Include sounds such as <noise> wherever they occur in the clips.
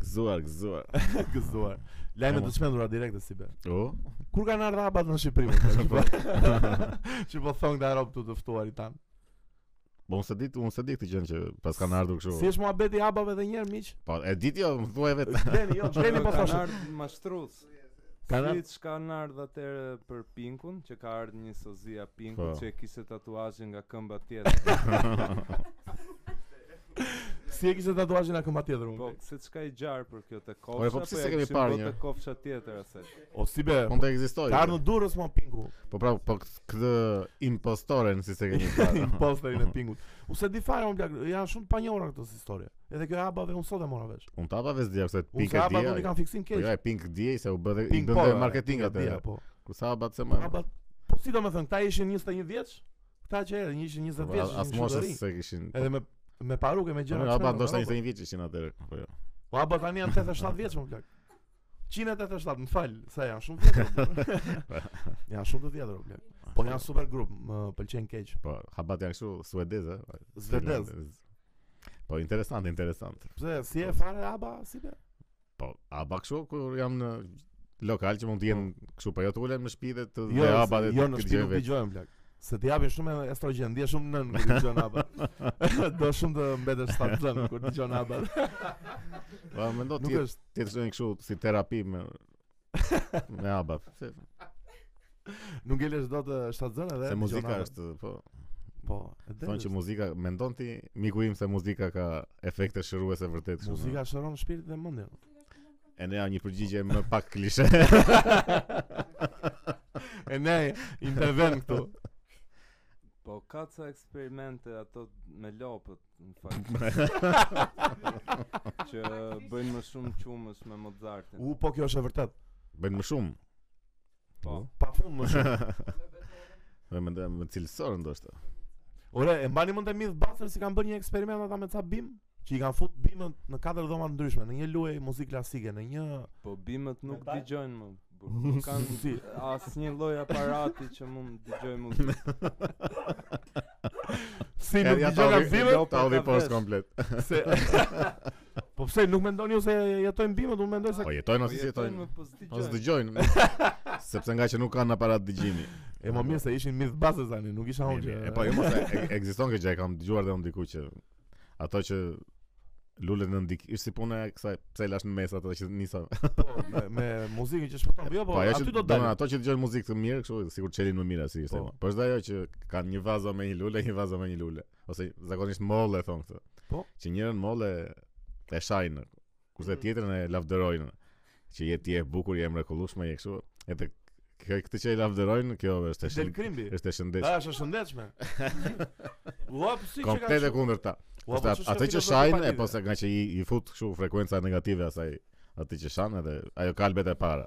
gëzuar, gëzuar. Gëzuar. Lajme të çmendura direkte si be. O, Kur kanë ardhur habat në <laughs> Shqipëri? më thua, që po- <laughs> Që po thon këta rob këtu të ftuarit tan. po unë se di, unë se di këtë gjën që pas kanë ardhur Si kështu. është muhabeti i habave edhe një herë miq? Po, e dit jo, më thuaj <laughs> vetë. Gjeni, jo, <laughs> gjeni po thoshë. mashtrues. Kanë Siç kanë ardhur atëre për Pinkun, që ka ardhur një sozia Pinku Po. që e kishte tatuazhin nga këmba <laughs> tjetër. Si e kishte tatuazhin na këmba tjetër po, unë. siç ka i gjar për kjo të kofsha, Ore, po pse se kemi parë një një? të kofsha tjetër asaj. Po. O si be. Mund të ekzistojë. Ka ardhur në Durrës më pinku. Po pra, po kët- këtë impostoren si se <laughs> keni parë. Imposterin e pingut. U se di fare unë plak, janë shumë të panjohura këto si historie. Edhe kjo e habave unë sot e mora vesh. Unë tapa vetë dia kësaj Unë pikë se habave unë i dia. kam fiksim Po keq. ja, e pink dia se u bë i Pink bën po, marketing Pink dia, atë. po. Kur sa habat se më. Habat. Po si do me thënë, këta ishin 21 vjeç, këta që erë, ishin 20 vjeç, Po, As ishin moshës qytetari. se kishin. Edhe me me parukë me gjëra. Habat çmendura, ndoshta roba. 21 vjeç ishin atëherë. Po jo. Po haba tani janë 87 vjeç më plak. 187, më fal, sa janë shumë <laughs> vjetër. bro. janë shumë të vjetër o plak. Po janë super grup, më pëlqen keq. Po, habat janë kështu suedeze. Zvedez. Po interesant, interesant. Pse si e fare haba si be? Po, a ba kështu kur jam në lokal që mund të jenë kështu po jo të ulem në shtëpi dhe të Jo, dhe haba se- dhe të jo në këtë shtëpi gjë nuk vetë. dëgjojmë plak. Se ti japin shumë estrogen, ndje shumë nën kur dëgjon <laughs> haba. Do shumë të mbetesh shtatë zënë kur dëgjon haba. Po mendo Nuk ti është ti të shkojnë kështu si terapi me me <laughs> haba. Se, nuk gjesh dot e, shtatë zënë edhe. se dëgjon muzika haba. është po Po, e del Thonë që është. muzika, mendon ti miku im se muzika ka efekte shëruese vërtet kështu. muzika shëron shpirtin dhe <laughs> mendjen. E ne jam një përgjigje më pak klishe. E ne interven këtu. Po ka ca eksperimente ato me lopët, në <laughs> fakt, që bëjnë më shumë qumësh me Mozartin. U, po kjo është e vërtet. Bëjnë më shumë. Po. Pa fund më shumë. <laughs> Dhe më ndem më cilësor ndoshta. Ore, e mbani mend të Myth Buster si kanë bërë një eksperiment ata me ca bim, që i kanë fut bimën në katër dhoma të ndryshme, në një lojë muzikë klasike, në një Po bimët nuk dëgjojnë më. burr. Nuk <laughs> kanë Si? asnjë lloj aparati që mund dëgjoj muzikë. si Ja nuk ja ta dëgjoj po vi- bimën, lopët ta vi ka post vesh. <laughs> komplet. se Po pse nuk mendoni ju se jetojnë bimët, unë mendoj se Po jetojnë Po ose si jetojnë? jetojnë më po Po <laughs> s'dëgjojnë. s'dëgjojnë. Sepse nga që nuk kanë aparat dëgjimi. e më mirë se ishin Myth Buster tani, nuk isha unë. Mirë, mirë. që- E po jo mos e- e- ekziston kjo gjë, e kam dëgjuar dhe unë diku që ato që lulet në ndik, ishte si puna e kësaj pse lash në mes ato që nisa. <laughs> po, me, me muzikën që shpëton. Jo, po, ajo që aty do të domethënë dalë. ato që dëgjojnë muzikë të mirë, kështu sikur çelin më mirë si ishte. Po. Po është ajo që kanë një vazo me një lule, <laughs> një vazo me një lule, ose zakonisht molle thon këtë. Po. Që njërin molle e shajnë, kurse Mm. tjetrën e lavdërojnë. Që je ti e bukur, je e mrekullueshme, je kështu. Edhe kjo këtë që e lavdërojnë, kjo është e Del shënd- Krimbi. është e shëndetshme. A, është e shëndetshme. <laughs> Ua, po si që ka. Komplet e kundërta. Ua, po Ata s'është atë që filozofi shajnë e patjetër. po se nga që i, i fut kështu frekuenca negative asaj atë që shajnë edhe ajo kalbet e para.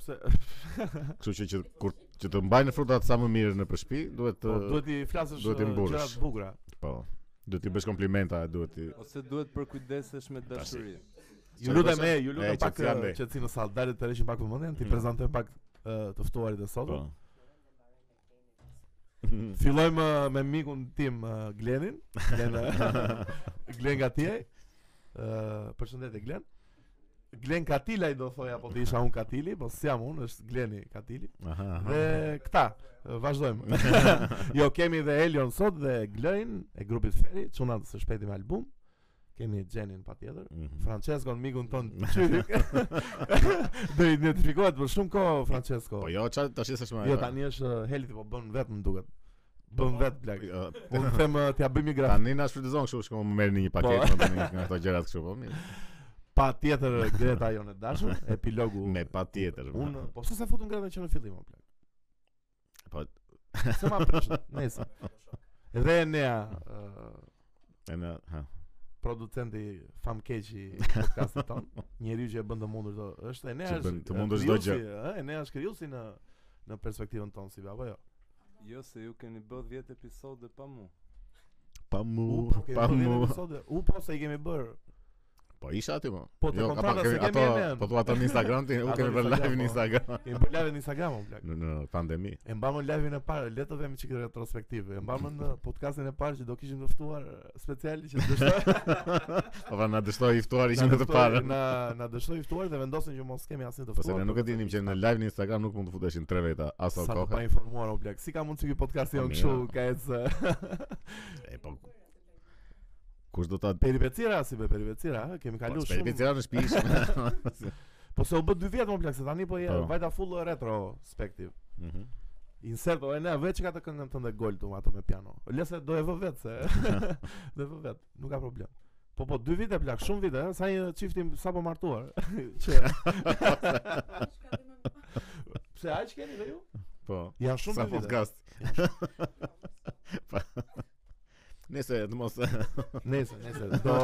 Pse? Kështu që, që kur që të mbajnë frutat sa më mirë në përshpi, duhet të Po, duhet i flasësh duhet i eh, mburësh. gjëra të bukura. po, duhet i bësh komplimenta, duhet i Ose duhet përkujdesesh me dashuri. Ju lutem e, ju lutem E, pak qetësi andej. që në sallë, dalit të rëshim pak vëmendjen, ti Mm. prezantojmë pak eh, të ftuarit e po. sotëm. Fillojmë eh, me mikun tim eh, Glenin, Glen <laughs> eh, Glen Gatiaj. Ë, përshëndetje Glen. Glen Katilaj do thoja, po të isha unë Katili, po s'jam unë, është Gleni Katili. Aha. aha. Dhe këta, eh, vazhdojmë. <laughs> jo, kemi dhe Elion sot dhe Glojn e grupit Feri, çunat së shpejti me album. Kemi Xhenin patjetër. Mhm. Francesco në mikun <laughs> ton çyk. Do i identifikohet për shumë kohë Francesco. Po jo, çfarë tash s'është më. Jo tani është uh, healthy po bën vetëm duket. Bën vet plak. Jo, <laughs> Unë them uh, t'ja bëjmë një grafik. Tani na shfrytëzon kështu, shkon më merrni një paketë Po. më bëni nga ato gjërat kështu, po mirë. Pa tjetër Greta jonë e <laughs> dashur, epilogu. Me patjetër. Unë po pse sa futun Greta që në fillim o plak. po Se ma prish. Nëse. Dhe Enea, uh, <laughs> e na, ha. producenti famkeq i podcastit ton, njeriu që e bën të mundur të është Enea Që është bën të mundur çdo gjë. krijuesi, ë, Enea është krijuesi në në perspektivën tonë si be, apo jo. Jo se ju keni bë 10 episode pa mua. Pa U, mu, po, kemi pa bërë mu. episode. U po se i kemi bër. Po isha aty më. Po, te kontrata se kemi e ato, nen. po thua ato në Instagram <laughs> ti, u Ato kemi në bërë live në Instagram, po. <laughs> Instagram. E bërë live në Instagram o plak. Në, në <laughs> pandemi. E mbamën live-in e parë, le të vemi çik retrospektive. E mbamën në podcastin e parë që do kishim të ftuar eh, special që të <laughs> dështoj. Po pra na dështoi i ftuar na ishim në të dështoi- parë. Na na dështoi i ftuar dhe vendosin që mos kemi asnjë të ftuar. Po se ne nuk e dinim që në live në Instagram nuk mund të futeshin tre veta as o sa të pa kohë. informuar o plak. Si ka mundsi ky podcast Po jon mirë, kështu po. ka ecë <laughs> E po. Kush do ta peripecira si be peripecira, eh, kemi kaluar Shpejt shumë. tira <laughs> në shtëpi ishim. Po se u bë 2 vjet më plak se tani po je Po. vajta full retrospektiv. Mhm. Insert o e ne veç ka të këngën tënde gol tu ato me piano. Lese do e vë vet se. <laughs> do e vë vet, nuk ka problem. Po po, dy vite plak, shumë vite, eh, sa një çifti sapo martuar. <laughs> Që pse aq keni dhe ju? Po. Janë shumë Sa dy vite. <laughs> podcast. <laughs> Pa. Nëse të mos Nëse, nëse <laughs> do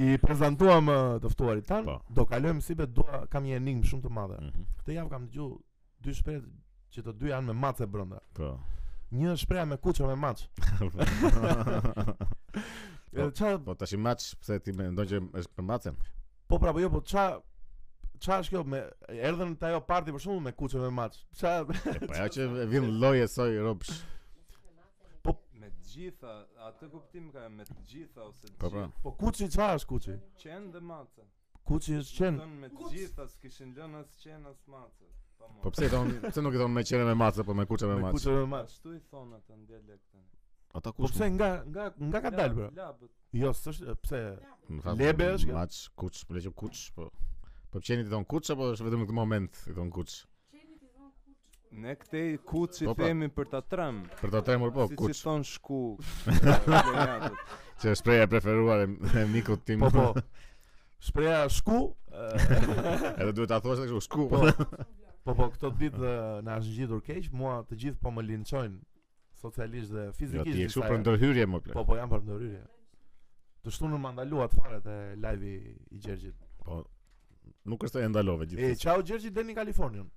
i prezantuam eh, të ftuarit tan, Po. do kalojmë si be dua kam një enigmë shumë të madhe. Mhm. Këtë javë kam dëgju dy shpreh që të dy janë me mace brenda. Po. <laughs> Një shpreh me kuçe me maç. Po. Edhe çfarë Po tash i match pse ti mendon që është për macen? Po pra, po jo, po qa Qa është kjo me erdhën të ajo parti për shumë me kuqe me maç. Qa <laughs> E <laughs> po ajo që vjen lloje soj ropsh. Me të gjitha, atë kuptim ka me të gjitha ose të Po po. gjitha. po kuqi qa është kuqi? Qen dhe mace. Kuqi është qen. Thon me të gjitha s'kishin lënë as qen as mace. Pa mo. Po pse i thon, pse nuk i thon me qene me mace, po me kuçe me Me mace? kuqe me maç. Ashtu i thon atë në dialektën. Ata Po kush? pse nga nga nga ka dalë bro? Lab- Labët. Jo, s'është <laughs> pse Më tha, Lebe është kjo? Maç, kuç, po leqë kuç, po. Po qeni i thon kuç apo është vetëm në këtë moment i thon kuç? Ne këtej kuçi Po, po. themi për ta trem. Për ta tremur po, si kuç, Po, Si thon <laughs> shku. legatët. që është preja e preferuar e e mikut tim. po po. Shpreha shku e, <laughs> Edhe duhet ta thuash kështu, shku. <laughs> Po. Po po këto ditë e, na është ngjitur keq, mua të gjithë po më linçojnë socialisht dhe Jo, fizikisht. ti je kështu disa për herë. ndërhyrje më Po plot. po jam për ndërhyrje. Të shtunën më ndaluat fare te live i Gjergjit. Po. Nuk është se e ndalove E gjithsesi. çau Gjergji deni në Kalifornion.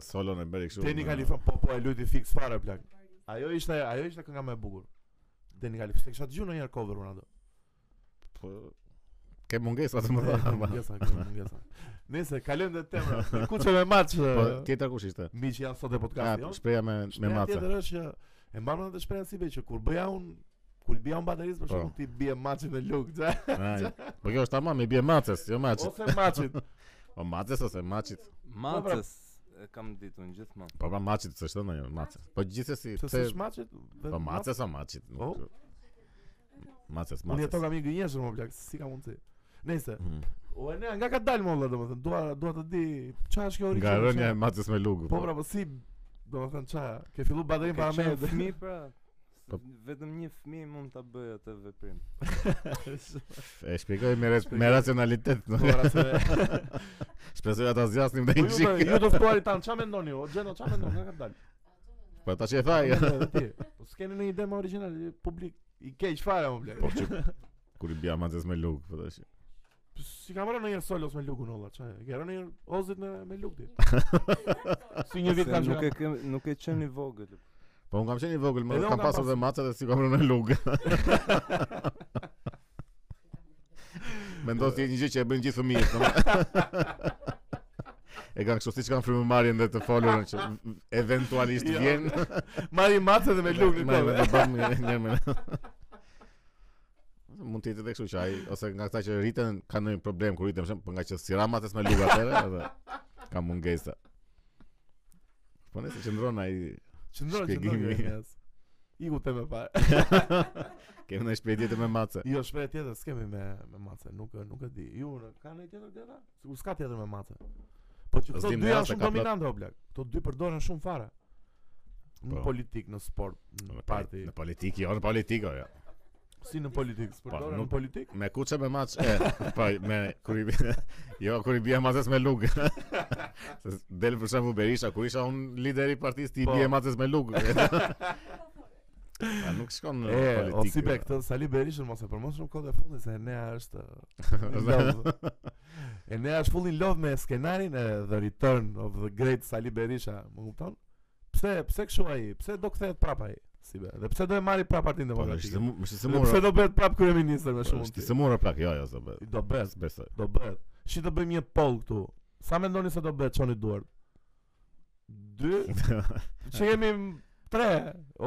Solon e bëri kështu. Deni në- Kalifornion, po po e luti fix fare plak. Ajo ishte ajo ishte kënga më e bukur. Deni Kalifornion, se kisha dëgjuar ndonjëherë cover unë ato. Po. Ke mungesa të <laughs> më E, dha. ka Mungesa, ka mungesa. Nëse kalojmë dhe temra, me kuçe me maç. <laughs> Po tjetër kush ishte? Miq janë sot e Ka podcasti. jo? shpreja me me Shpreha mace. Tjetër është që e mbaron atë shprehje si be që kur bëja un kur bija un baterisë për Po. shkak ti bie maçin e luk, qa? Ai. Po kjo është tamam, i bie maces, jo maçit. <laughs> ose maçit. Po maces ose maçit. Macës e kam ditur në gjithmonë. Po pra maçit s'është thonë ajo, no mace. Po gjithsesi, Pse pse s'është maçit? po maces apo maçit? nuk- Po. Maces, Unë maces. jeto kam i gënjeshtër më plak, si ka mundsi. Nëse, Mhm. o e ne nga ka dalë më vëlla domethënë, dua dua të di çfarë është kjo origjinë. Nga rënja e qa- maces me lugu. Po pra, po si domethënë çfarë? Ke filluar baterin para me fëmi pra. Po. Vetëm një fëmijë mund ta bëjë atë veprim. E shpjegoj me res- me racionalitet. Po pra se Shpresoj ata zjasnim dhe Po i ju shik. bë- ju do ftuarit tan, çfarë mendoni? O Gjeno, çfarë mendon? Nga ka dalë? Po tash e thaj. Nga ka dalë, ti. Po s'keni në ide më origjinal, publik i keq fare më plak. Po që kur i bia maces me lug, po tash. Si kam rënë një solos me lugun olla, çaj. Ke rënë një ozit me me lugdi. si një vit Se kam nuk nuk e kem nuk e qenë i vogël. Po un kam qenë i vogël, Edhe më unë kam kam pasur pas- dhe mace dhe si kam rënë me lug. <laughs> Mendoj se një gjë që e bëjnë gjithë fëmijët, domethënë. <laughs> E kanë kështu siç kanë frymëmarrjen dhe të folurën që eventualisht Jo. vjen. <laughs> marri mace dhe me lugdi. <laughs> Ma po. do bëm një një herë. <laughs> Mund të jetë edhe kështu që ai ose nga këta që rriten kanë ndonjë problem kur rriten, për shemb, po nga që siramat es me lug atëre, edhe ka mungesa. Po nëse qëndron ai Qëndron, Shpjegimi. qëndron. yes. Iku te me parë. <laughs> kemi në shpejtje të me mace. Jo, shpre tjetër s'kemi me me mace, nuk nuk e di. Ju në ka ndonjë tjetër gjëra? Sigur s'ka tjetër me mace. Po që këto Zdim dy në janë jashtë, shumë ka plot. dominante o blak. Këto dy përdoren shumë fare. Në Po. politik, në sport, Në në parti, parti. Në politikë, jo, në politikë, jo. si në politik, Po, përdoren nuk- në <laughs> politik. Me kuçe me maç, e, <laughs> po me kur i <laughs> jo kur i bie macës me lug. <laughs> Se s- del për shembull Berisha, kur isha un lideri i partisë ti i Po. bie macës me <laughs> lug. A nuk shkon në E, o politikë. si <laughs> be këtë Sali Berishën mos e përmos shumë kohë e fundit se Enea është uh, Po, in love. Enea është full in love me skenarin e The Return of the Great Sali Berisha, më kupton? Pse pse kështu ai? Pse do kthehet prapa ai? Si be. Dhe pse do e marri prapë Partinë Po, është se Demokratike? mu- është se Dhe mora. pse do bëhet prapë kryeministër me shumë? Është ti? se mora plak, jo, jo, s'do bëhet. Do bëhet, Besoj. do bëhet. Shi do bëjmë një poll këtu. Sa mendoni se do bëhet çoni duart? <laughs> 2, që kemi 3.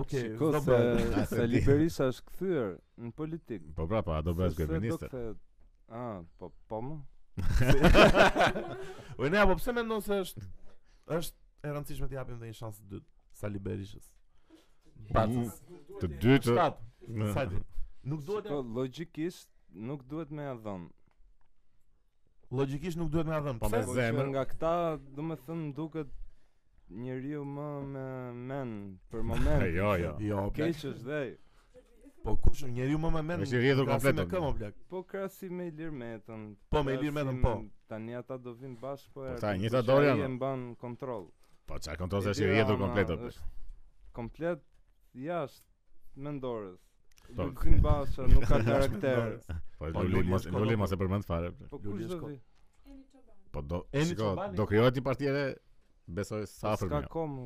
Okej, Shiko do se, bëhet. Ja, se se di. Liberisha është kthyer në politikë. Po prapa, a do bëhet Se kryeministër? do kthehet- Ah, po po më. Unë apo pse mendon se është është e rëndësishme të japim edhe një shans të dytë Sali Berishës. Mm, Të dy të Shtat. Sa di. Nuk duhet Shiko, Po, logjikisht nuk duhet me ia dhënë. logjikisht nuk duhet më dhën. Po, Pse? me Po, që zemër. Nga këta, do me thënë, më duket njeriu më me men për moment. <laughs> Jo, jo. <laughs> Jo, Keq është dhe. Po kush njeriu më më mend. Është i rrjedhur komplet, Me o. këmo plak. Po krasi me Ilir Metën. Po, me Ilir krasi Metën, me- po. Tani ata do vinë bashkë po. Po, erdhën, ta e njëjta kush dorë ai janë, E o. mban kontroll. Po çka kontrollse është po. i Edira rrjedhur Ama komplet. o, plak. është Komplet jashtë mendorës. Po, Lulzim Basha <laughs> nuk ka karakter. Po Po, luli Luli mos është luli kodok. mos e përmend fare. Po Lulzim kush do Shko- vi? Po do Eni shiko, Çobani. do krijohet një parti edhe besoj sa afër Po, Ska më. kom,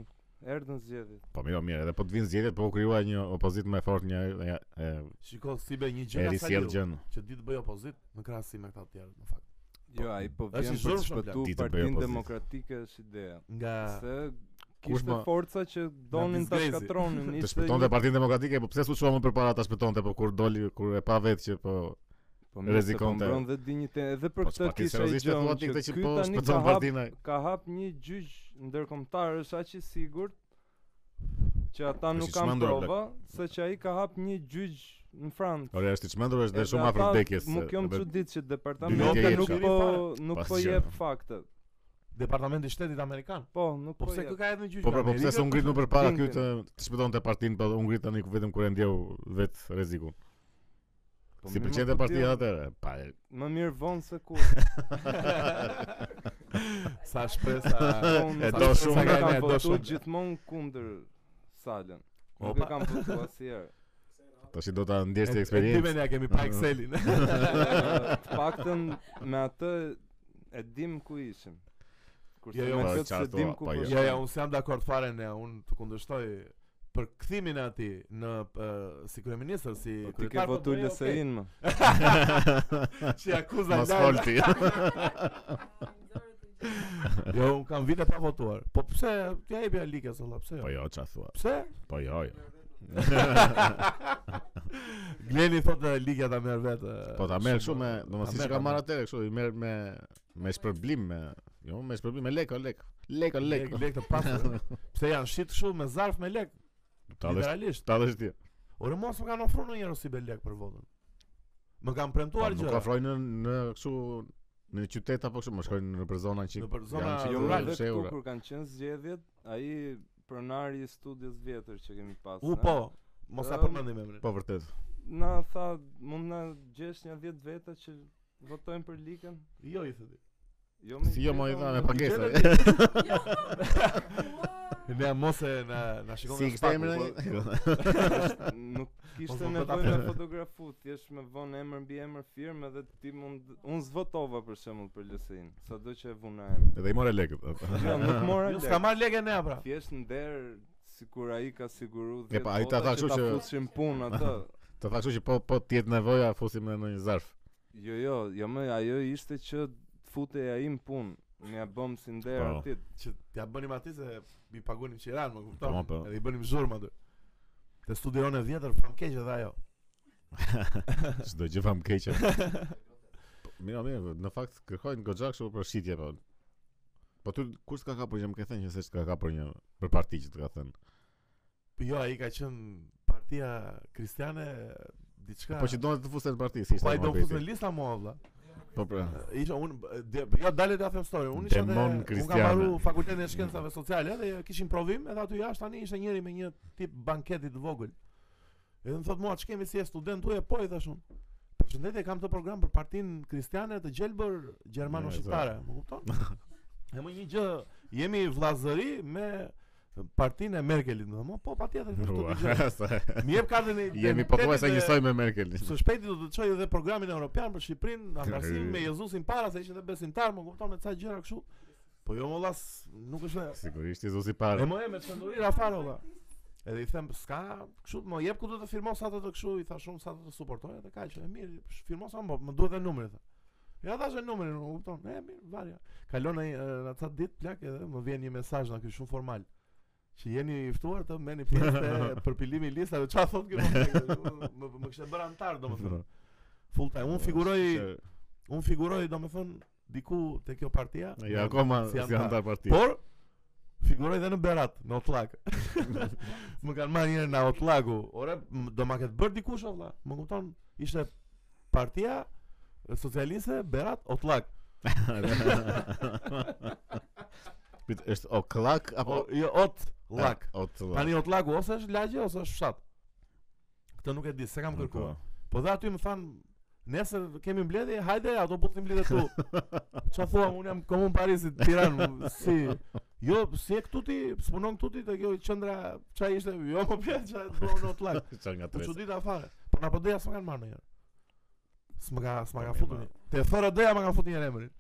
erdhën zgjedhjet. Po mirë, mirë, edhe po të vinë zgjedhjet, po u krijuaj një opozitë më e fortë, një e, e, Shiko si be një e gjë ka risjell Saliu gjën. që ditë bëj opozit në krahasim me këta të tjerë në fakt. Jo, ai po Është vjen i për të zorshëm, plak. shpëtu Ti të bëj Partinë opozitë. Demokratike është ideja. Nga Se Kush kishte ma- forca që donin ta <laughs> disgrezi. shkatronin. Të ishte shpëtonte një- Partinë Demokratike, po pse s'u çua më përpara ta shpëtonte, po kur doli kur e pa vetë që po Po mirë, se Rrezikonte. Po mbron dhe dinjitet. Edhe për po këtë çfarë kisha i seriozisht e gjënë thua ti këtë që që ky po tani ka shpëton hap, Partinë. ka hap një gjyq ndërkombëtar, është aq i sigurt që ata Është nuk i kanë çmendur, plak. prova se që ai ka hap një gjyq në Francë. Ore, është i çmendur, është dhe Edhe shumë afër ata vdekjes. Mu se- kjo më edhe- çudit që Dy departamenti vjet nuk jetë po fare. nuk Pas po gjë. jep faktet. Departamenti i Shtetit Amerikan. Po, nuk Po po pse jep. kë ka edhe një gjyq? Po pra, po pse s'u ngrit më përpara ky Lincoln. të të shpëtonte Partinë, po u ngrit tani ku vetëm kur e ndjeu vet rrezikun. Po Si mirë, më pëlqente kuptim, partia atëre? Pa. e- Më mirë vonë se <laughs> kur. <laughs> Sa shpresa. Unë E sa- do sa shumë. kam E do votu shumë. gjithmonë kundër Salën. Nuk Opa. e kam <laughs> votu asnjëherë. Tash do ta ndjesh ti Ti eksperiencë. më ne kemi pa <laughs> Excelin. Jo, Ë, Të paktën me atë e dim ku ishim. Kurse Jo, jo, me po, këtë se qartë, dim po, ku po, po. jo. Ja, ja, unë jam dakord fare ne, unë të kundërshtoj për kthimin e atij në p- si kryeministër, si Po, Ti ke kryetar. votu LSI-n më. Si akuza Mos lajme. fol ti. Jo, unë kam vite pa votuar. Po pse ja jepi Alikës valla, pse Po jo? jo, ç'a thua? Pse? Po jo, jo. Gleni thotë Alikja ta merr vetë. Po ta merr shumë me, ta domethënë siç merr, ka ta marr merr. atëre, kështu i merr me me shpërblim me, jo, me shpërblim me lek, o lek. Lek, o lek. lek lek të <laughs> pasur. Pse janë shit kështu me zarf me lek? Ta dësh, Literalisht. ta dësh ti. Ore mos më kanë ofruar ndonjëherë si be lek për votën. Më kanë Po premtuar nuk gjëra. ofrojnë në- në kështu në qytet apo kështu, më shkojnë në për zonën që Në për zona janë që Jo, rurale, më janë dhe këtu shehura. kur kanë qenë zgjedhjet, ai pronari i studios vjetër që kemi pas. U ne, po, mos ta Ëm, përmendim emrin. Po vërtet. Na tha, mund na gjesh një 10 veta që votojnë për Likën? Jo i thotë. Jo me Si jo, veta, mo, i tha, unë me do- pagesa. <laughs> Ne mos e na na shikon. Si nga kishte spaku, emrin? po. <laughs> Është- Nuk Po, Mos kishte më bët nevojë atë. me fotografu, thjesht me vonë emër mbi emër firmë edhe ti mund unë zvotova për shembull për LSI-n, sado që e vuna emër. Edhe i more lekët. Jo, nuk mora Ju s'ka lek. marr lekë ne pra. Thjesht nder sikur ai ka siguru E, 10 pa, ai ta vota tha kështu ta që- fusin punë atë. Të tha kështu që po po ti jetë nevoja, fusim në një zarf. Jo, jo, jo më ajo ishte që fute ai në punë. Mja bëm si nder Po. atit. Që t'ja bënim aty se i pagunim qiran, më kupton? Po, po. Edhe i bënim zhurmë aty. Te studion e vjetër fam keq edhe <laughs> ajo. Çdo gjë fam keqe. <laughs> Po, Mirë, mirë, në fakt kërkojnë goxha kështu për shitje po. Po ty kur s'ka kapur që më ke thënë që se s'ka kapur një për parti që të ka thënë. Po Jo, ai ka qen partia kristiane diçka. Po që donë të fusen në parti, si Po ishte. ai do Muhabeti. fut në lista mua valla. Po <laughs> pra. Isha unë, dhe- ja dalet ja them story, unë isha Demon dhe, unë kam kristiane. marru fakultetin e shkencave sociale dhe kishim provim edhe aty jashtë tani ishte njëri me një tip banketi të vogël. Edhe më thot mua, ç'kemi si e student tu e po i thash unë. Përshëndetje, kam të program për partinë kristiane të gjelbër gjermano-shqiptare, më kupton? <laughs> E më një gjë, jemi vllazëri me partinë e Merkelit, më thon, po patjetër Ua, këtu <laughs> dëgjoj. se- Më jep kartën e Jemi pothuajse identitetit dhe- njësoj me Merkelin. Së shpejti do të çoj edhe programin evropian për Shqipërinë, antarësim me Jezusin para se ishin edhe besimtar, më kupton me ca gjëra kështu. Po jo mollas, nuk është. e- Sigurisht Jezusi E parë. më e me çndurira fare olla. Edhe i them, s'ka, kështu më jep ku do të firmo sa do të kështu, i thash unë sa do të suportoj edhe kaq. E mirë, sh- firmo sa më, më duhet edhe numri tha. Ja thash e numrin, u kupton. E mirë, varja. Kalon ai në atë ditë plak edhe më vjen një mesazh na ky shumë formal. Që jeni i ftuar të merrni pjesë te përpilimi i listave. Çfarë thotë ky? Më- Më më kishte bërë antar domethënë. Full time. Unë figuroj, unë figuroj domethënë diku te kjo partia. Ja akoma si Po? s'ka antar. ndar parti. <laughs> Por figuroj edhe në Berat, në Otlak. më kanë marrë njëherë në Otllaku. Ore, m- do ma ketë bër dikush o vlla. Më kupton? Ishte partia socialiste Berat Otllak. Pit është o klak apo Po jo Otllak. O klak. Tani Otllaku ose është lagje ose është fshat. Këtë nuk e di, se kam kërkuar. Po dhe aty më than Nesër kemi mbledhje, hajde ato po të mbledhje <laughs> tu. Çfarë thua, un jam komun Parisit, Tiranë, si Jo, si e këtu ti, s'punon këtu ti te kjo qendra, çfarë ishte? Jo, po pse çfarë do në otlak. <laughs> Çfarë nga Po tre? çudita fare. Po na po doja s'ma kanë marrë ndonjëherë. S'ma ka, s'ma ka Po, futur. mirë, një. Te thora doja ma kanë futur një emrin.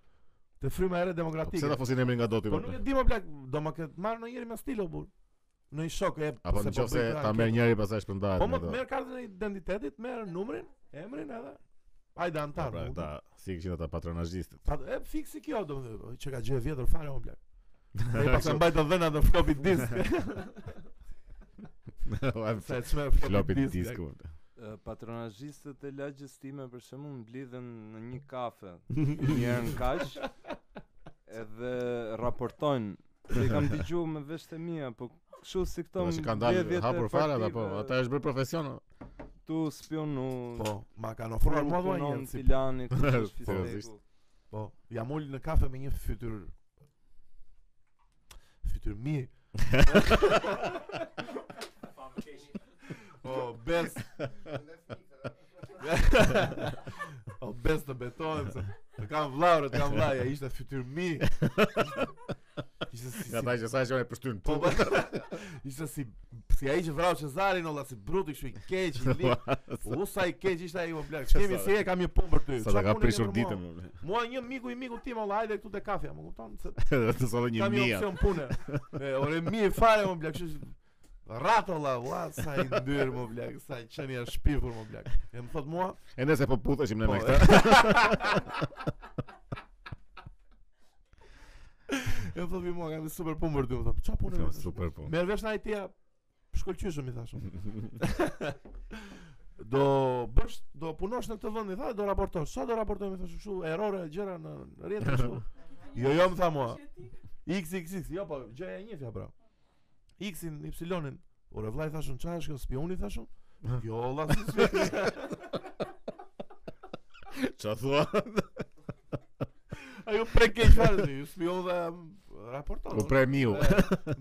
Te fryma Po ere pse ta demokratike. fosin emrin nga doti? Po nuk e di më plak, do ma ket marrë ndonjëri me stilo burr. Në një shok e Apo se në po qoftë se bëj ta anketën. merr njëri pastaj shpëndahet. Po me më ato. merr kartën e identitetit, merr numrin, emrin edhe. Hajde Po, antar. pra, më kupton? ta si kishin ata patronazhistët. Pa, e fiksi kjo domethënë, po, që ka gjë e vjetër fare <laughs> më plak. E pas e mbajtë dhëna në floppy disk. Sa e çmë Flopi floppy disk. disku. Ë, Patronazhistët e lagjës time për shembull mblidhen në një kafe <laughs> një herë në kaq edhe raportojnë se i <laughs> kam dëgjuar me vesh të mia, po kështu si këto Po që kanë dalë mbledhjet e hapur fare ata po, partive, ata është bërë profesion. o. tu spionu. Po, ma kanë ofruar mua Pra, punon dhua një <laughs> si Pilani, kush është Po, Fisteku. zisht. Po, jam ul në kafe me një fytyr fytyr mi. o bes. o bes të betohem se të kam vllaurë, të kam vllaja, ishte fytyr mi. Ishte si, Nga ata si që sa e shohin e përshtyn. po po. <laughs> Ishte si si ai që vrau Cezarin, olla si brut i kështu i keq, i <laughs> li. U sa i keq ishte ai o blaq. Kemi si e kam një punë për ty. Sa ta ka Çfarë punë e ke prishur për mua? ditën. më. Mua një miku i miku tim olla hajde këtu te kafja, më kupton? Se Të sa dhe një kam një mija. opsion pune. <laughs> E, ore mi e fare më blaq, kështu që- Rat olla, ua sa i ndyrë më blaq, sa i qeni është shpifur më blaq. E më thot mua, E nëse po putheshim ne Po, me e. këtë. e më thot mi mua, kam një super punë për ty, më thot. Çfarë punë? më thot? Super po. Merr vesh në IT-a, shkëlqyshëm i thashëm. do bësh, do punosh në këtë vend, i tha, do raportosh. Sa do raportoj, më thashë, kështu errore gjëra në në rrjetin kështu. jo, jo, më tha mua. XXX, jo po, gjëja e njëjtja pra. X-in, Y-in. Ore vllai thashun, çfarë është kjo spioni thashun? Jo, valla, si spioni. Ç'a thua? <laughs> Ajo pre keq fare, ju spion dhe mm, raporton. U pre <laughs> miu. E,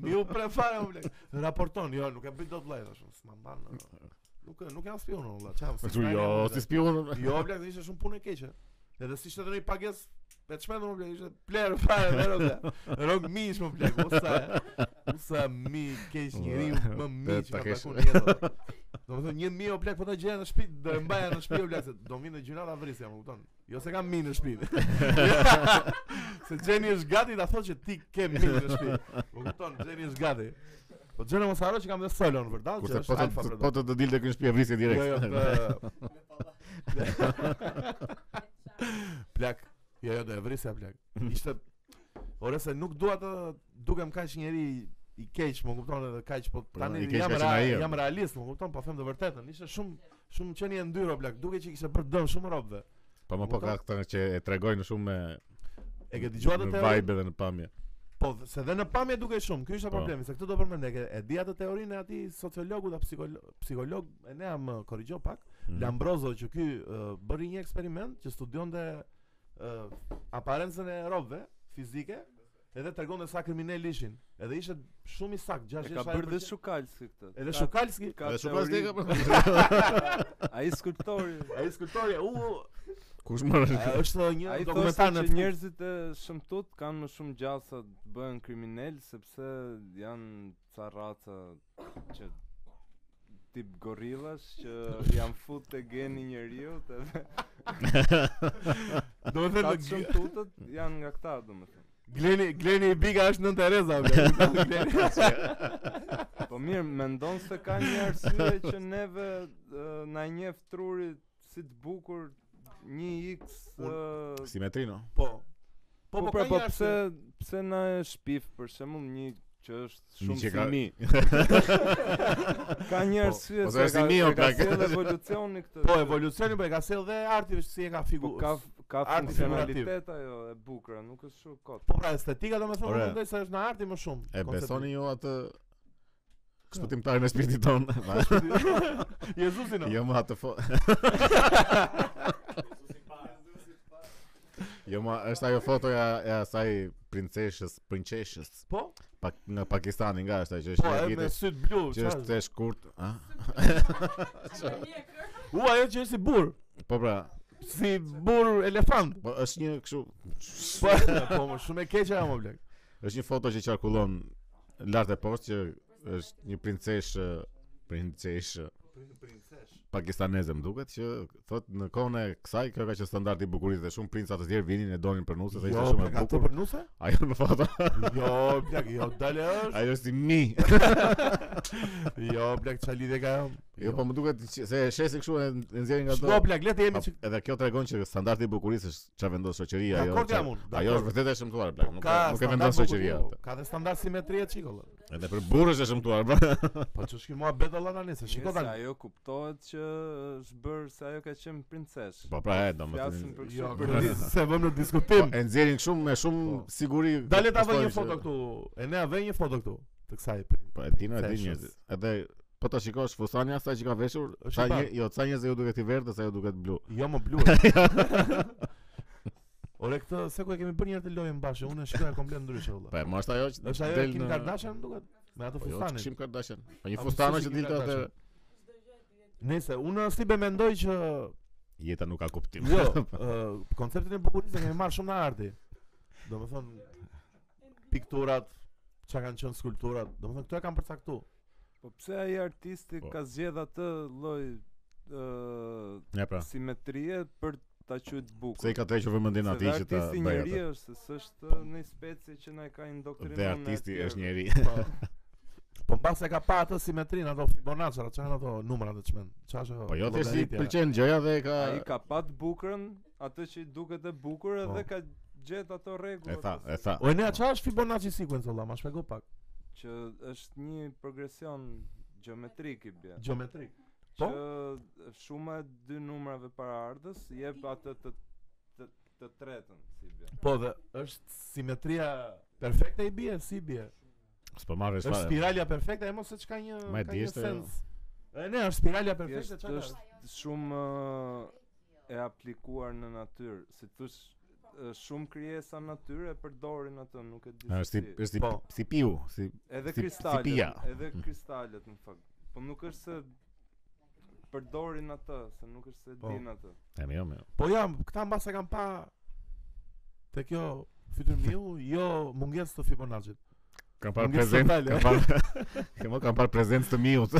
Mi u pre fare, më blek. Raporton, jo, nuk e bëj dot vllai thashun, s'ma mban. <laughs> no. Nuk nuk jam spion valla, çfarë? Po çu si spion, jo, valla. si spion. Jo, blek, ishte shumë punë e keqe. Edhe si ishte të një pagesë Me të shmenë më blek, ishte pler fare me roga Rog mish më blek, osa Osa mi keq njëri më mi Te- që ta ka kesh- takun jetë <laughs> Do më thënë, një mi o blek, po ta gjeja në shtëpi Do e mbaja në shtëpi o blek, se do mi në gjyna ta vrisja, më kupton Jo se kam mi në <laughs> shtëpi Se Gjeni është gati, ta thot që ti ke mi në shtëpi Më kupton, Gjeni është gati Po Gjeni mos haro që kam dhe solo në vërdall, Kurse që po të është alfa vërdall. po të të dilte kënë shtëpi e vrisje direkt. Jo, jo, të... <laughs> plak. Jo, jo, do e vrisja plak. Ishte Ore se nuk dua të dukem kaq njeri i keq, më kupton edhe kaq, po Po, tani i keq jam ka ra, qenë ai, jo. jam realist, më kupton, po them të vërtetën. Ishte shumë shumë qenie ndyro plak, duke që kishe bërë dëm shumë robëve. Po më po ka këta që e tregojnë shumë me E ke dëgjuar atë me teori? vibe dhe në pamje. Po, dhe- se dhe në pamje duke shumë. Ky ishte Po. problemi, se këtë do përmend. E ke- E di atë teorinë e atij sociologu da psikolog, psikolog e ne më korrigjo pak. Mhm. Lambrozo që ky uh, bëri një eksperiment që studionte uh, aparencën e robëve fizike edhe tregonte sa kriminal ishin. Edhe ishte shumë i sakt, E 6 ka bërë dhe Shukalski këtë. Edhe Ka- Shukalski, ka Dhe shumë pas teori. deka po. <laughs> Ai skulptori. ai skulptori, <laughs> u Kush mërë? a- është një Ai thoshte dokumentar që në njerëzit e shëmtut kanë më shumë gjasa të bëhen kriminal sepse janë ca raca që tip gorillash që janë fut te geni i njeriu edhe Do të ata thënë të shëmtutët janë nga këta domethënë. <laughs> Gleni Gleni i Biga është nën Tereza, bla. Gleni. Po Po mirë, mendon se ka një arsye që neve uh, na njeh truri si të bukur 1x Un- uh, Simetrino. Po. Po po, ka pra, po një arsye. pse pse na e shpif për shembull një që është Një shumë që ka- simi. <laughs> ka një Po, po, arsye se se është ka, simi, o, e ka plak. sjell evolucioni këtë. Po evolucioni po e ka sjell dhe arti si e ka po figurë. ka ka arti figurativ. funksionalitet ajo e bukur, nuk është shumë kot. Po pra estetika domethënë Ore. unë mendoj se është në arti më shumë. <laughs> E koncepti. besoni ju atë shpëtimtarin e shpirtit tonë. <laughs> Jezusi no. Jo më atë <laughs> fo... Jo më, është ajo fotoja e asaj princeshës, princeshës Po, pa, nga Pakistani nga është ajo që është po e një me vite syt blu. që çfarë? është e shkurt, a? U ajo që është si burr, Po pra, si burr elefant. po është një kështu, <laughs> Po, <laughs> po më shumë e keq ajo më blek. është një foto që qarkullon lart e poshtë që është një princeshë, princeshë pakistaneze më duket që thot në kohën e kësaj kjo ka qenë standardi i bukurisë dhe shumë princa të tjerë vinin e donin për nuse dhe ishte Jo, shumë blek, e atë bukur. për nuse? <laughs> Ajo në foto, Jo, blek, jo, dale <laughs> është. ajo është i mi. Jo, blek, çfarë lidhje ka ajo? Jo, po më duket që- se e shesin kështu e e nxjerrin nga Shko do. blek, le të jemi A- çik. Edhe kjo tregon që standardi i bukurisë është çfarë vendos shoqëria ajo. Dakord çfarë- jam unë, Ajo dakord. është vërtet e shëmtuar bla, nuk e- nuk e standard vendon bukur, shoqëria po, atë. Ka dhe standard simetrie çikolla. <laughs> Edhe për burrë është e shëmtuar <laughs> bla. Po çu shkim mua bet olla tani, se shiko Mirë, se tani. ajo kuptohet që është bërë se ajo ka qenë princesh. Po pra, e Flasim domethënë. për Jo, <laughs> kështu kërdi, për se vëmë në Po, diskutim. e nxjerrin shumë me shumë Po. siguri. Dale ta vë një historisht, foto e- këtu. E ne vë një foto këtu të kësaj. Po e dinë, e dinë princeshës. njerëzit. Edhe po ta shikosh fustani asaj që ka veshur, Është sa i një, jo, sa njerëz ju duket i verdhë, sa ju duket blu. Jo më blu. <laughs> e. <laughs> Ore këtë se ku e kemi bërë një herë të lojën bashkë, unë e shkruaj komplet ndryshe Po valla. e mos ajo që Është ajo e del Kim në- Kardashian duket me atë Po jo, fustanin. Kim Kardashian. Po një A, po fustano si që Kim dilte atë Kardashian? Nëse unë si be mendoj që jeta nuk ka kuptim. jo, ë, konceptin e bukurisë e kemi marrë shumë në arti. Domethënë pikturat, çka kanë qenë skulpturat, domethënë këto e kanë përcaktuar. Po pse ai artisti Po. ka zgjedh atë lloj ë <laughs> Ja pra. simetrie për ta qytë bukur. Se i ka tërhequr vëmendin Se atij dhe që ta bëj artisti njeri atë. është, se s'është në specie që na e ka indoktrinuar. Dhe me artisti atjerë. është njeri. <laughs> Po. Po mbas e ka pa atë simetrin ato Fibonacci, ato çan ato numrat të çmen. Çfarë është? ajo? Po jo thjesht i Llogaritja. pëlqen gjëja dhe ka Ai ka pat bukurën, atë që i duket e bukur edhe Po. ka gjetë ato e rregullat tha, e tha. O ne çfarë është Fibonacci sequence olla, ma shpjego pak. që është një progresion gjeometrik i bie. Gjeometrik. Po? Që shuma e dy numrave para ardhës jep atë të të, të tretën si bie. Po dhe është simetria perfekte i bie, si bie? S'po marrësh Është fare. spiralja perfekte, e mos se çka një Ma e ka di një është, sens. E ne është spiralja perfekte Thjesht çfarë? është? është shumë ë, e aplikuar në natyrë, si thosh ë, shumë krijesa në natyrë e përdorin atë, nuk e di. se Është si- si. është si Po. si piu, si edhe si- si kristalet, pija. edhe kristalet në fakt. Po nuk është se përdorin atë, se nuk është se Po. din atë. e mirë, mirë. Po jam, këta mbas e kam pa te kjo fytyrmiu, jo mungesë të Fibonacci. Kam parë Ngjesë prezent, totale. kam parë. <laughs> Kam kam parë prezencë të <laughs> miut.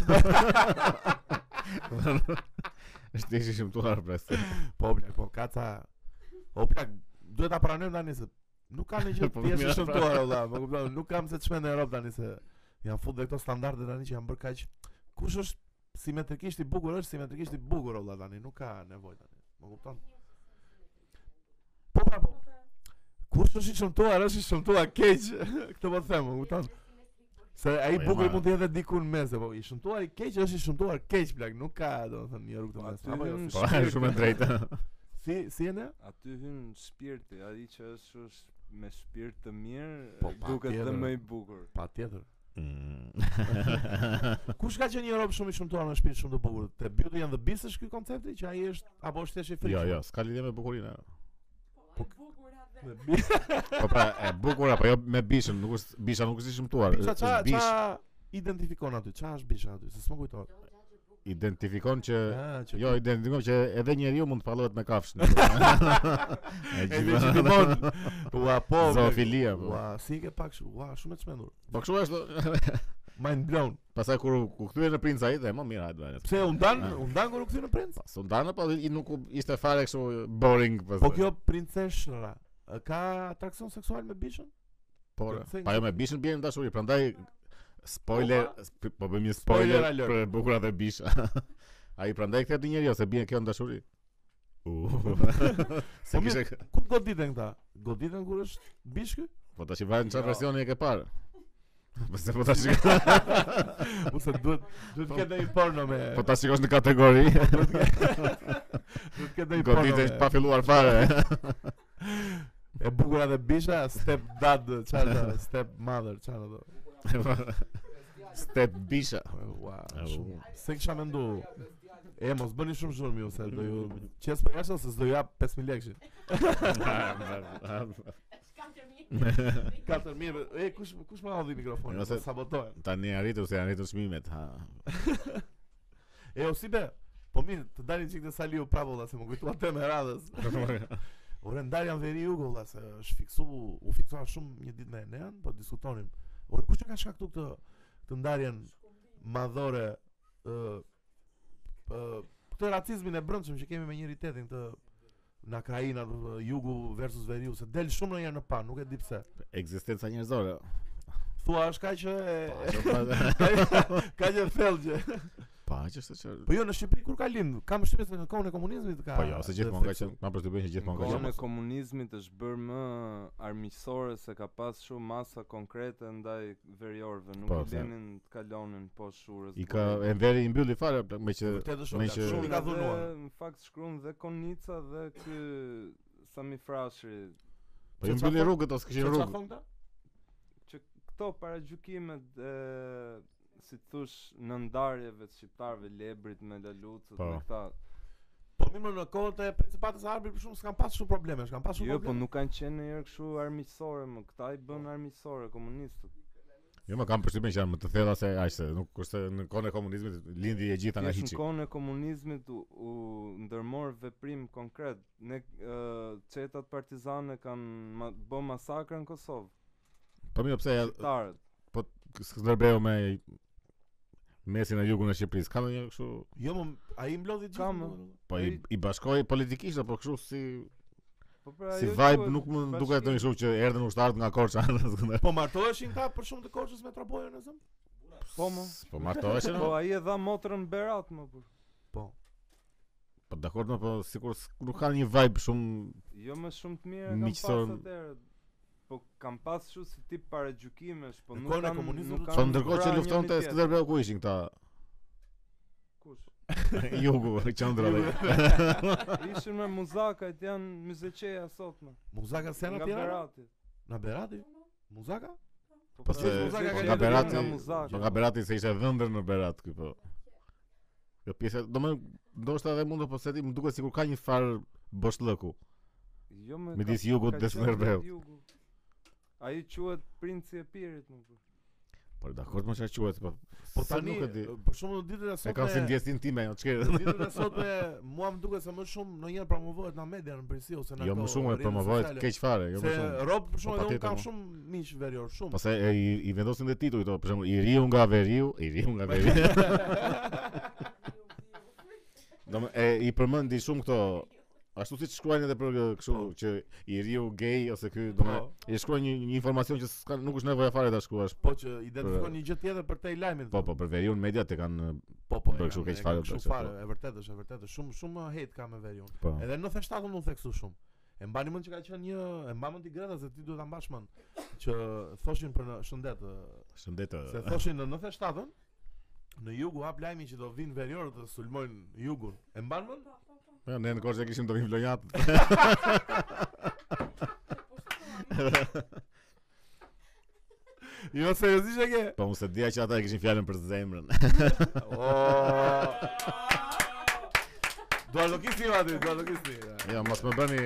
Është ishim shëmtuar pres. <laughs> Po plak, po ka ca O plak, duhet ta pranojmë tani se nuk <laughs> ka në gjë Po, pjesë mira, shëmtuar valla, më kupton, nuk kam se çmë në Europë tani se janë fut dhe këto standarde tani që janë bërë kaq. Kush është simetrikisht i bukur, është simetrikisht i bukur valla tani, nuk ka nevojë tani. Më kupton? Po pra po. Kush është i shëmtuar, është i shëmtuar keq. <laughs> Këtë po them, më kupton? Se ai Po, jo, bukur ma- mund të jetë diku në mes, po i shëmtuar i keq është i shëmtuar keq plak, nuk ka domethënë një rrugë të Po, mes. aty Apo jo. në Po është <laughs> shumë e drejtë. Si si e ne? Aty hyn shpirti, ai që është është me shpirt të mirë, Po, e duket dhe patjetër. më i bukur. Pa <laughs> tjetër. Mm. Kush ka qenë një rob shumë i shëmtuar në shtëpi shumë të bukur? Te Beauty and the Beast është ky koncepti që ai është apo është thjesht i Jo, frikshëm? jo, s'ka lidhje me bukurinë. ajo. The <laughs> Beast- Po pra, e bukur apo jo me bishën, nuk është bisha nuk është i shëmtuar. Bisha është ça ça bish identifikon aty? Ça është bisha aty? Se s'më kujtohet. identifikon që Ah, që Jo, identifikon që edhe njeriu mund të pallohet me <laughs> kafshën. e E legitimon. Ua po. bre. <laughs> Zoofilia, po. Ua, si e ke pak shumë. Ua, shumë e çmendur. Po kështu është. <laughs> Mind blown. Pastaj kur u- u kthye në princ ai dhe më mirë hajde. vale. Pse u ndan, Ah. u ndan kur u kthy në princ? Pas u ndanë po i nuk u- ishte fare kështu boring pastaj. Po kjo princeshra ka atraksion seksual me bishën? po. re. kjo thing- Pa jo me bishën bien dashuri, prandaj Spoiler, sp- po bëjmë një spoiler, Spoiler alert. për bukurat e bisha. <laughs> Ai prandaj këtë di njeriu se bie kjo në dashuri. U. <laughs> se Po mirë. kishte Ku goditen këta? Goditen kur është bish <laughs> ky? po tash i vajn çfarë Jo. versioni e ke parë. <laughs> Po se po ta shikosh. <laughs> Ose duhet duhet të ketë ndonjë porno me Po ta shikosh në kategori. Po, duhet të ketë ndonjë porno. Godite me- pa filluar <laughs> fare. E bukura dhe bisha, step dad, çfarë do, step mother, çfarë do. Step <laughs> bisha. Ua, Au. shumë. Se kisha mendu. E mos bëni shumë zhurmë ju se do ju qes për jashtë se s'do ju jap 5000 lekë. Katër mijë. E kush kush më hodhi mikrofonin? Nëse- Mos sabotohen. Tani arritu se arritu çmimet, <laughs> ha. E o si be? Po mirë, të dalin çik të saliu prapë valla se më kujtua tema e radhës. Ore ndarja në veri jugo valla se është fiksu, u fiksua shumë një ditë me Enean, po diskutonim. Ore kush e ka shkaktuar këtë këtë ndarjen madhore ë ë këtë racizmin e brendshëm që kemi me njeritetin këtë në Krajina, jugu versus veriu, se del shumë në në pa, nuk e di pse. Ekzistenca njerëzore. Thua është kaq <laughs> që Pa, <laughs> ka që thellë. pa që është çfarë. Po jo në Shqipëri kur ka lind, kam shtypjes se në kohën e komunizmit ka. Po jo, se gjithmonë ka qenë, ma përshtypjen që Në gjithmonë ka kohën qenë. e komunizmit është bërë më armiqësore se ka pas shumë masa konkrete ndaj veriorëve, nuk Po, i se- lenin të kalonin poshtë shurës. I të ka burimit. e veri i mbylli fare plak, me që Vërtet është me shumë që- shumë i ka Edhe dhunuar. Në fakt shkruan dhe Konica dhe ky Sami Frashëri. po i që mbylli çfarë- rrugët ose kishin Se çfarë rrugë. thon këta? Këto paragjykimet e si të thush në ndarjeve të shqiptarëve lebrit me lalucët Po. me këta. Po mirë në kohët e principatës së Arbit për shumë s'kan pas shumë probleme, s'kan pas shumë Jo, po probleme. nuk kanë qenë ndonjëherë kështu armiqësore, më këta i bën armiqësore komunistët. Jo, më kam përshtypjen që janë më të thella se aq se nuk kurse në kohën e komunizmit lindi e gjitha nga Thjesht hiçi. në kohën e komunizmit u, u ndërmor veprim konkret. Ne ë, çetat partizane kanë ma, bë masakrën në Kosovë. Po mirë, pse ja- Shqiptarët. Skënderbeu me mesin e jugun e Shqipërisë. Ka ndonjë kështu Jo, më- ai mblodhi gjithë. Kam, më- Po i, i bashkoi politikisht apo kështu si Po pra si ajo vibe quhet nuk më bashkim. duket ndonjë kështu që erdhën ushtarët nga Korça. <laughs> Po martoheshin ka për shumë të Korçës me Trabojën e zëm? Po më. Po martoheshin. Po ai e dha motrën Berat më po. Po. Po dakord, më, po sikur s- nuk kanë një vibe shumë Jo më shumë të mirë kam Miqësor- pas atëherë. Po kam pas kështu si tip paragjykimesh, po Në nuk kohën e kanë komunizmit nuk do pra të Po kanë. ndërkohë që vrarë luftonte njëri tjetrin. Skënderbeu ku <laughs> ishin këta Kush? jugu, qendra dhe. <laughs> Ishin me muzakajt janë myzeqeja sot më. Muzaka se janë Nga atje? Berati. Na Berati? Muzaka? Po pra, se Muzaka po ka nga qenë Berati, nga Muzaka. po nga Berati se ishte dhëndër në Berat ky po. Kjo pjesa, domethënë ndoshta edhe mund të po se ti më duket sikur ka një farë boshllëku. Jo më. Midis ka- jugut ka dhe qenë Skënderbeut. jugu. Ai quhet princi e pirit më. po. Po dakord më çfarë quhet po. Po se tani, nuk e di. për shumë në ditët e E kam si sotme, ndjesin time jo, ajo çka. në ditët e sotme mua më duket se më shumë ndonjëherë promovohet në media në përsi ose në Jo ato më shumë e rrjetet promovohet sociale. keq fare, jo më Se shumë. rob për shumë Po, edhe unë patjetër, kam mo. shumë miq verior, shumë. Pastaj e, i, i vendosin dhe tituj to, për shembull, i riu nga veriu, i riu nga <laughs> veriu. Domë e i përmendi shumë këto ashtu siç shkruajnë edhe për kështu Po. që i riu gay ose ky domë i shkruajnë një, një informacion që s'ka nuk është nevoja fare ta shkruash. Po që identifikon një gjë tjetër për te i lajmit. Po po për veriun mediat e kanë po, po. e bërë kështu kam- keq e kam fare, kështu bërë kështu, fare, e vërtetë është, e vërtetë. është. Shumë shumë hate ka me veriun. po. Edhe në 97 unë u theksu shumë. E mbani mend që ka qenë një, e mbani mend ti Greta se ti duhet ta mbash mend që thoshin për në shëndet, ë, Shëndet. se thoshin në 97 në jug u hap lajmi që do vinë veriorët të sulmojnë jugun. E mban mend? Ja, Po, ne në Korçë e kishim domi vlonjat. Jo seriozisht e ke? Po unë se dija që ata e kishin fjalën për zemrën. <laughs> O. Do të kisni aty, do të kisni. Jo, mos më bëni.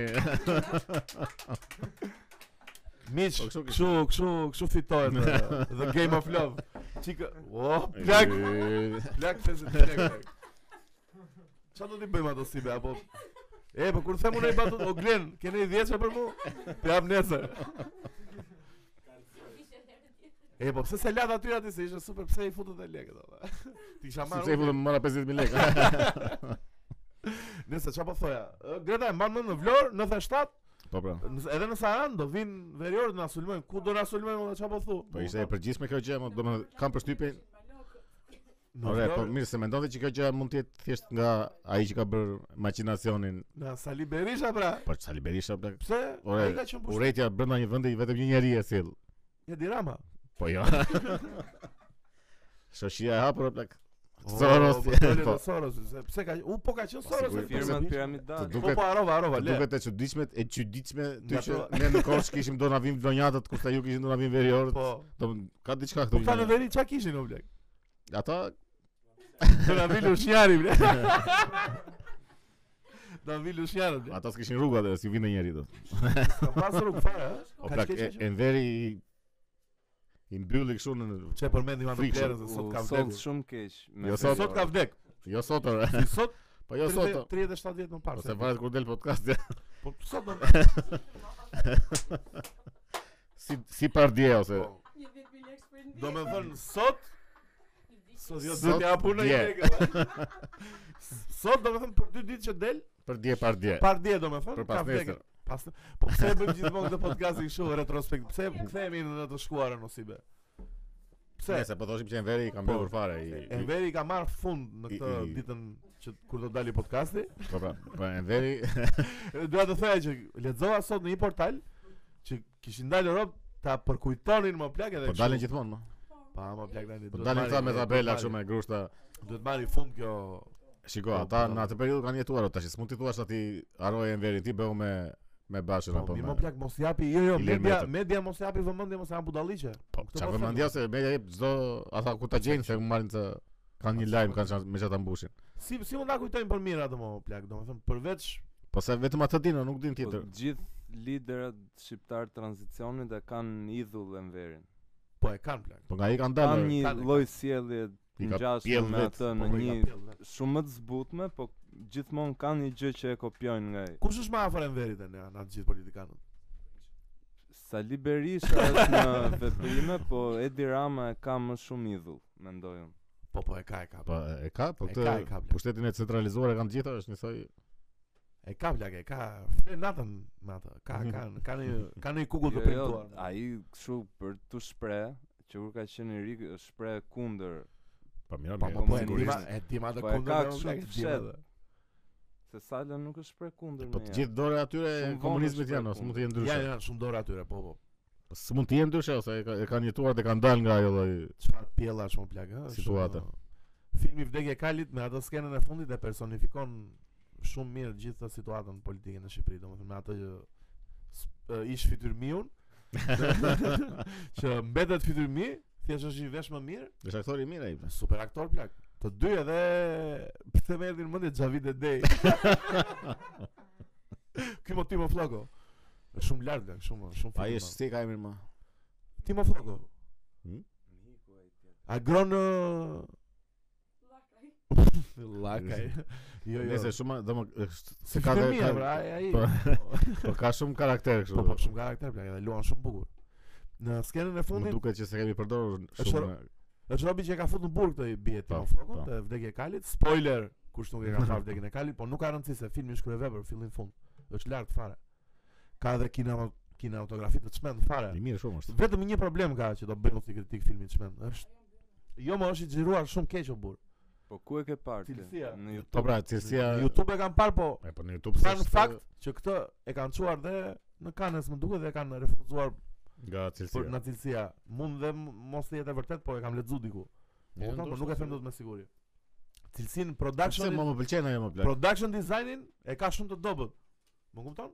Miq, Po, kështu- kështu, kështu, kështu fitohet ë, The Game of Love. Çik, o, <laughs> plak. Plak 50 lekë. Qa do t'i bëjmë ato si be, apo... E, po kur them unë e batut, o Glen, kene i dhjeqe për mu? Të jam nesër. E, po pse se latë aty aty se ishe super, pse i futët e lekë, do Ti kisha Si marrë, se unë, futëm mëra 50000 lekë. <laughs> nëse qa po thoja, Ë, Greta e mbanë mend në Vlorë, 97, Po pra. Nëse- Edhe në Saran do vinë veriorët na sulmojnë. Ku do na sulmojnë edhe çfarë po thu? Po ishte e përgjithshme kjo gjë, më domethënë kam përshtypjen. Në Ore, po Florë- mirë se mendon që kjo gjë mund të jetë thjesht nga ai që ka bërë maqinacionin po, Në Sali Berisha pra. për Sali Berisha bla. Pse? Ore, Ai ka qenë pushtet. Urrëtia brenda një vendi vetëm një njerëz e sill. Ja dirama. Po <laughs> jo. Shoshia e hapur bla. Soros. Soros. Po Po. Soros, se- pse ka u po ka qenë Soros. sigurisht, e po, Firmat Berisha. piramidale. Të Po po harova, harova, Po le. duket e çuditshme, e çuditshme ty Nga që to- ne në Korçë kishim do na vim vlonjatët kurse ju kishin do na vim veriorët. Po. Do ka diçka Po këtu. ta në një- veri çka kishin o blek? Ata Do na vilu shnjari blek. <laughs> Do na vilu shnjari blek. ata s'kishin rrugat dhe s'ju vinte njeri do. Ka pasur u fare, ha? O Ka plak qenë e që- e veri i- i mbylli kështu në Çe përmendim anë Frikshëm. Blerën se U sot ka sold vdekur. shumë keq. me Jo, Sot, sot- sot ka <laughs> vdek. jo sot ore. Si sot Po jo sot. 30 37 vjet më parë. Ose se- varet kur del podcast. Po sot do. <laughs> si si par dje ose. po, Një vit me lekë për Do me thënë sot Sot jo do Sot t'ja punë dje. një lekë. <laughs> Sot do me thënë për dy ditë që del, Për dje par dje. par dje do me thënë, Për ka pas vdekë. nesër. Pas po pse e bëjmë gjithmonë këtë podcastin kështu retrospekt? Pse kthehemi në të shkuarën ose be? Pse? Nëse po thoshim që Enveri i ka Po. mbyllur fare i. i- Enveri ka marr fund në I- këtë i- ditën që kur do dali podcasti. Po pra, po <laughs> Enveri Doja të thoya që lexova sot në një portal që kishin dalë rob ta përkujtonin më plak edhe po dalin gjithmonë. mo. Pa më plak tani. Po duhet dalin marri- këta me duhet tabela marri- kështu me grushta. Duhet marri fund kjo Shiko, Po, ata po. në atë periudhë kanë jetuar o, tash, s'mund ti thuash ati harroje Enverin, ti bëu me me Bashën Po apo mirë me. më plak mos japi jo jo I lirë media metët. media mos japi vëmendje mos japi budalliqe. Po, Këtë po çfarë them mendja se media jep çdo ata ku ta gjejnë se u marrin të kanë një lajm kanë çan- me çata mbushin. Si si mund ta kujtojmë për mirë atë më plak, domethënë përveç Po se vetëm atë dinë, nuk din Po, tjetër. Gjithë liderat shqiptar të tranzicionit e kanë idhull Enverin. po e kanë plak. Po nga i kanë dalë. Kanë një kanë- lloj sjellje I ka ngjashme pjell me vet, atë po, në po, i një ka ναι. shumë më të zbutme, po gjithmonë kanë një gjë që e kopjojnë nga ai. Kush është më afër Enverit tani janë atë gjithë politikanët? Sali Berisha <laughs> është në veprime, po Edi Rama e ka më shumë idhull, mendoj unë. Po po e ka e ka. Po e ka, po E këtë ka, e ka, bla. pushtetin e centralizuar e kanë gjitha, është njësoj. E ka plak, e ka. Fle natën me atë. Ka ka ka një ka një kukull të Jo, jo, printuar. ai kështu për të shpreh që kur ka qenë i ri shpreh kundër Po mirë, Po mirë. po po e sigurisht. tima e tima atë Po, e kundër. ka me kështu plak, të e tima fshet. dhe. se Sala nuk e shpreh kundër Po me të ja. gjithë dore atyre Shumë vonë komunizmit është janë, bërë ose mund të jenë ndryshe. Janë janë shumë dorë atyre, po po. Po s'mund të jenë ndryshe ose e ka- e kanë jetuar dhe kanë dalë nga ajo lloj. Çfarë pjella është më plak, ë? Shumë- Situata. Filmi Vdekje e Kalit me atë skenën e fundit e personifikon shumë mirë gjithë të situatën politike në Shqipëri, domethënë me atë që s- ë, ish <laughs> fytyrmiun që mbetet fytyrmi, thjesht është i vesh më mirë Është aktor i mirë ai. <laughs> bla. Super aktor plak. Të dy edhe pse më erdhi në mendje Xhavid e <laughs> Dej. Ky mo Timo Flako. Është Shumë lart plak, shumë shumë. Pa ai film, është si ka emrin më. ma. Timo Flako. Hmm? Agron uh, ë, Lakaj. <laughs> Jo, jo. Nëse shumë, do më është- se Si ka film dhe mirë, ka- pra, ai- ai. Po. Po, po ka shumë karakter kështu. <laughs> po, po, shumë karakter plak, edhe luan shumë bukur. Në skenën e Më fundit duket që se kemi përdorur Është shumë. në- është Robi që e ka futur në burg këtë bie Timo Po, Flakun po. te vdekja e Kalit. Spoiler, kush nuk e <laughs> ka parë vdekjen e Kalit, po nuk ka rëndësi se filmi është kryevepër fillim fund. Është lart fare. Ka edhe kinema kinematografi të çmend fare. I mirë shumë është. Vetëm një problem ka që do bëjmë si kritik filmin çmend. Është Jo më është i xhiruar shumë keq o burr. Po ku e ke parë? ti? Cilësia. Në YouTube. Po pra, cilësia Në YouTube e kanë parë po E po në YouTube fun s'është fact që këtë e kanë çuar dhe në Cannes më duket dhe e kanë refuzuar nga për cilësia. në cilësia. Mund dhe m- mos të jetë e vërtet, po e kam lexuar diku. Po, kupton, po nuk e them dot me siguri. Cilësinë Pse production më më pëlqen ajo më plak. production designin e ka shumë të dobët. Më kupton?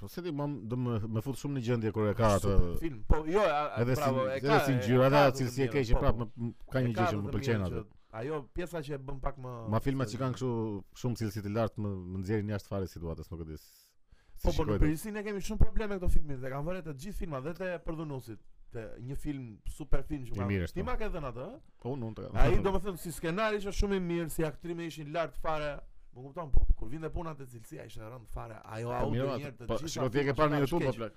Po se ti më do më më fut shumë në gjendje kur e ka atë. Super film. Po jo, a- a- Edhe si bravo, e ka. edhe si e ngjyrata ka të të cilësi e mirën, keqe po, prap po. më- më- ka E një ka gjë të që më të pëlqen mirën atë. që- Ajo pjesa që e bën pak më Ma filmat që kanë kështu shumë cilësi të lartë më më nxjerrin jashtë fare situatës, nuk e di. s- si Po po në shikohet. përgjithësi ne kemi shumë probleme me këto filmin dhe kanë vënë të gjithë filmat dhe te përdhunusit te një film super film që I kanë. mirë është, Ti po. ma ke dhënë atë? ë? Po unë unë të kam. <laughs> Ai domethënë si skenari ishte shumë i mirë, si aktrimi ishin lart fare. Më kupton, po kur vinte puna te cilësia ishte rënd fare. Ajo Po, audio mirë, njerë atë- të Po gjitha shiko ti e ke filmat parë në kanë YouTube po shkeq. plak.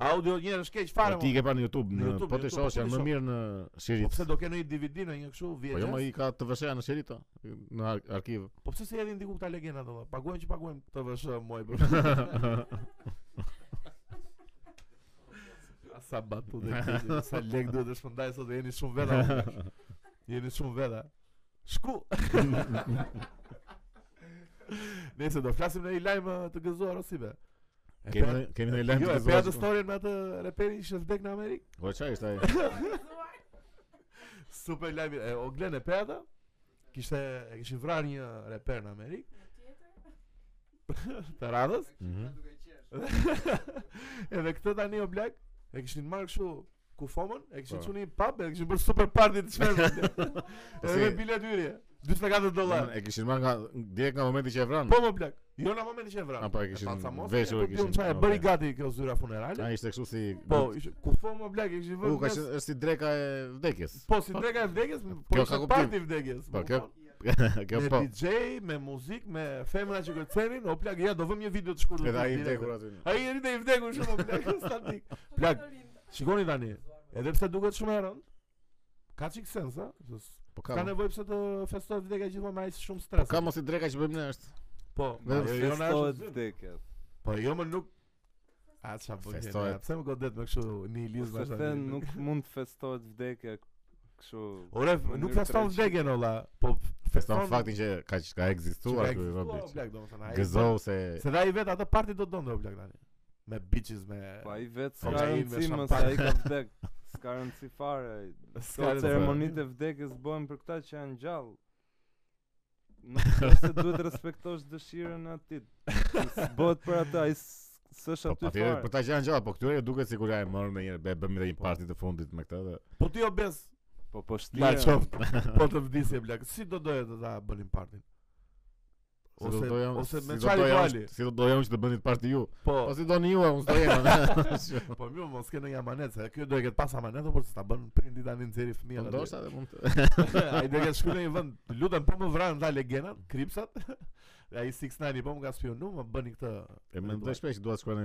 Audio njerë është keq fare. Po ti mo. e ke parë në YouTube, Në në- YouTube, po në ti YouTube, shohësh po ti janë më shoh. mirë në Po shirit. pse do kenë një DVD në një kështu Po jo, vjetë? më i ka të vëshëja në shirita, në ar- <laughs> arkiv. <laughs> uh, <laughs> Po pse se hedhin diku këta legenda do? Paguajmë që paguajmë të vëshë muaj për. Sa batu dhe <laughs> keni, sa lek duhet të shpëndaj sot jeni shumë veta. unë. jeni shumë veta. Shku. <laughs> Nëse do flasim në një lajm eh, të gëzuar osibe. E Kemi pe- ndonjë- kemi ndonjë lajm Jo, të e pea gëzuar? të storin me atë reperin që vdek në Amerikë. Po çfarë ishte ai? <laughs> Super lajm. E, o Glen e pea atë. Kishte e kishin vrarë një reper në Amerikë. <laughs> të radhës. Mhm. Edhe këtë tani o blak e kishin marrë kështu kufomën, e kishin Po. çunë në pub, e kishin bërë super party të <laughs> çfarë. Po Edhe si- Mm. me bilet hyrje, 44 dollar. E kishin marrë nga direkt nga momenti që e vran. Po më blak. Jo në momentin që e vran. A, po, e kishin veshur, veshur e kishin- Çfarë okay. bëri gati kjo zyra funerale? Ai ishte kështu si Po, ish- kufomë o blak e kishin U, vënë. ka mes- qenë është si dreka e vdekjes. <laughs> Po si dreka e vdekjes, m- po Kjo ka ishte kuptim. party vdekjes. Po, më kjo- kupton? Kjo me po. DJ, me muzik, me femra që kërcenin, o plak, ja do vëm një video të shkurtër. Edhe ai i direkt. vdekur aty. Ai i rritë i vdekur shumë o plak, <laughs> statik. Plak, Shikoni tani, edhe pse duket shumë e rëndë, ka çik sens, a? Se s- Po ka. Ka nevojë pse të festohet vdekja gjithmonë me aq Po shumë stres. ka mos i dreka që bëjmë ne është. Po, vetëm ajo jo na është festohet zyrë. vdekja. Po jo më nuk A ça po gjeni? Festohet. a Pse më godet me kështu nihilizëm Ose the nuk mund të festohet vdekja kështu. Ore, f- nuk feston Mënyrë vdekjen olla, po f- Feston faktin që ka ka që ekzistuar ky ka ekzistuar, o robi. plak, domethënë, ai- Gëzou se Se dha i vet atë parti do donte o blak tani. Me bitches me Po <laughs> ai vetë Po, s'ka ai me rëndësi më shampan. ai ka vdek. S'ka rëndësi fare. ai. S'ka Këto rëndësi. ceremonitë e vdekjes bëhen për këta që janë gjallë. Nuk është se duhet të <laughs> respektosh dëshirën e atit. S'bëhet për atë, ai s- s'është Po aty atëherë për fare. ta që janë gjallë, po këtyre ju duket sikur ja e morën me një e bëmë edhe një parti të fundit me këtë dhe Po ti o bes. Po po La shtira. qoft. <laughs> Po të vdisje blak. Si do doje të ta bënin partin? si do Ose doja- ose si me do çfarë doja unë- rituali? Si do doja unë që të bëni parti ju. Po, Po si doni ju, unë s'do jem. <laughs> <laughs> Po mirë, mos ke ndonjë amanet, se ky do e ketë pas amanet, por s'ta bën prindi tani nxjerrë Po fëmijën. aty. ndoshta edhe mund të. <laughs> Ai do e ketë shkruar në një vend, lutem po më vran dha legendat, kripsat. <laughs> Dhe Ai 69 po më ka spionu, më bëni këtë. E mendoj shpesh që dua të shkoj në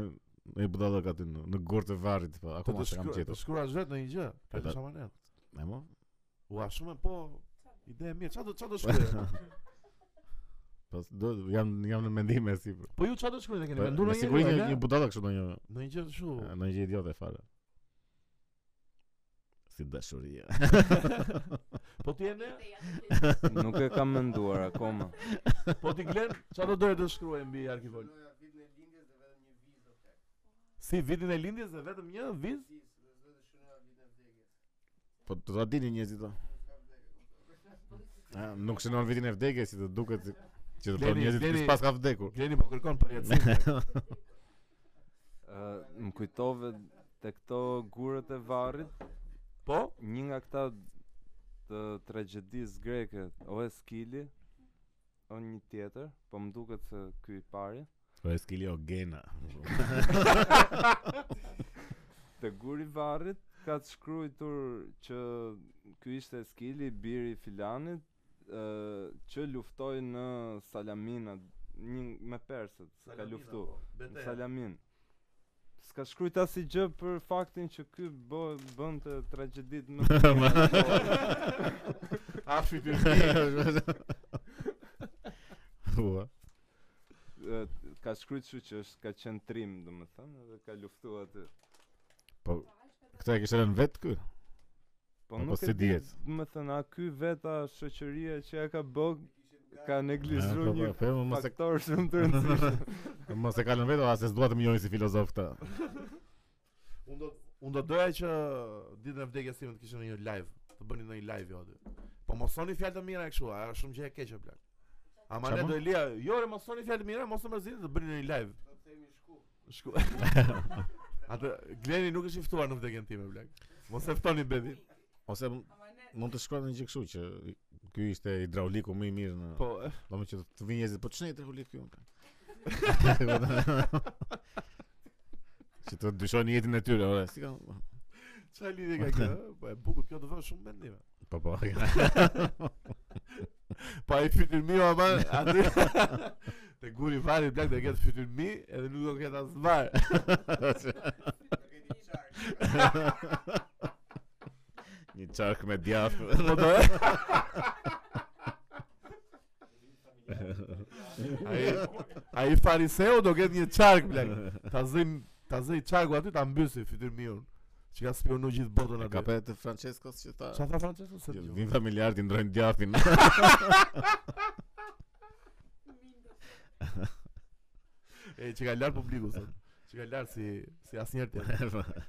në budallëk aty në në gorë të varrit, po Po akoma të s'e kam shkruaj, të gjetur. shkruash vetë në një gjë, Po, ta lësh da- amanet. E mo? Ua, shumë e po ide e mirë. Çfarë do <laughs> çfarë do shkruaj? Po do jam jam në mendime si. po. Po ju çfarë do shkruaj, e keni Po, menduar me ndonjë? siguri një gjë, Po. një Olga? budallë kështu ndonjë në një gjë kështu. në gjë idiote fare. Si <laughs> dashuria. Po ti ende? <laughs> Nuk e kam menduar akoma. Po ti Glen, çfarë do doje të shkruaj mbi arkivol? Si vitin e lindjes dhe vetëm një viz? Po do ta dini njerëzit do. A, nuk shënon vitin e vdekjes si të duket si që të thonë Leni- njerëzit Leni- që pas ka vdekur. Gleni po kërkon përjetësim. Ë, Më kujtove te këto gurët e varrit, po? një nga këta të tragjedisë greke, o e Skili, o një tjetër, po më duket se ky i pari. <laughs> Po e skili o <laughs> gena. Te guri i varrit ka të shkruajtur që ky ishte Skili, biri i filanit, ë që luftoi në Salamina, një me persët, ka luftu. Në Salamin. S'ka shkrujt as i gjë për faktin që ky bë- bënte tragjeditë <laughs> më të mëdha. Afri ty. <laughs> Ua. Ë, ka shkruajt kështu që është ka qenë trim, domethënë, edhe ka luftuar atë. Po këtë e kishte lënë vet ky. Po, po, si di, dihet? Domethënë, a ky veta shoqëria që ja ka bë ka Po, neglizhuar po, një po, mos e faktor shumë të <laughs> rëndësishëm. mos e kalon vetë, as se s'dua të më njohin si filozof këtë. Unë do unë do doja që ditën e vdekjes time të kishin një live, të bënin ndonjë live jo aty. Po mos thoni fjalë të mira e kështu, a është shumë gjë e keqe bler. Ama Çfarë ne mo? do e lija, jo re mos thoni fjalë të mira, mos të mërzitni të bëni ndonjë live. Shku. <laughs> Atë Gleni nuk është i ftuar në vdekjen time blek. Mos e ftoni bedin. Ose m- mund të shkruan një gjë kështu që ky ishte hidrauliku më i mirë në Po, <laughs> e, Domë që të vinë njerëzit, po ç'në hidraulik ky? unë?" <laughs> Që të dyshojnë jetën e tyre, ore, si ka. çfarë lidhje ka kjo? e? Po e bukur kjo do vë shumë <laughs> mendime. Po po. <laughs> Pa i fytyrmi o ama aty <laughs> Te guri vari blak do ketë fytyrmi edhe nuk do ketë as var. Një çark me djath. Po <laughs> do. Ai ai fariseu do ketë një çark blak. Ta zëj ta zëj çarku aty ta mbysi fytyrmiun. që ka spionu gjithë botën E aty. Ka pe të Francescos që tha. Çfarë tha Francesco se? që Vin familjar ti ndrojnë <laughs> djathin. E që ka lart publiku sot. Që ka lart si si asnjëherë tjetër.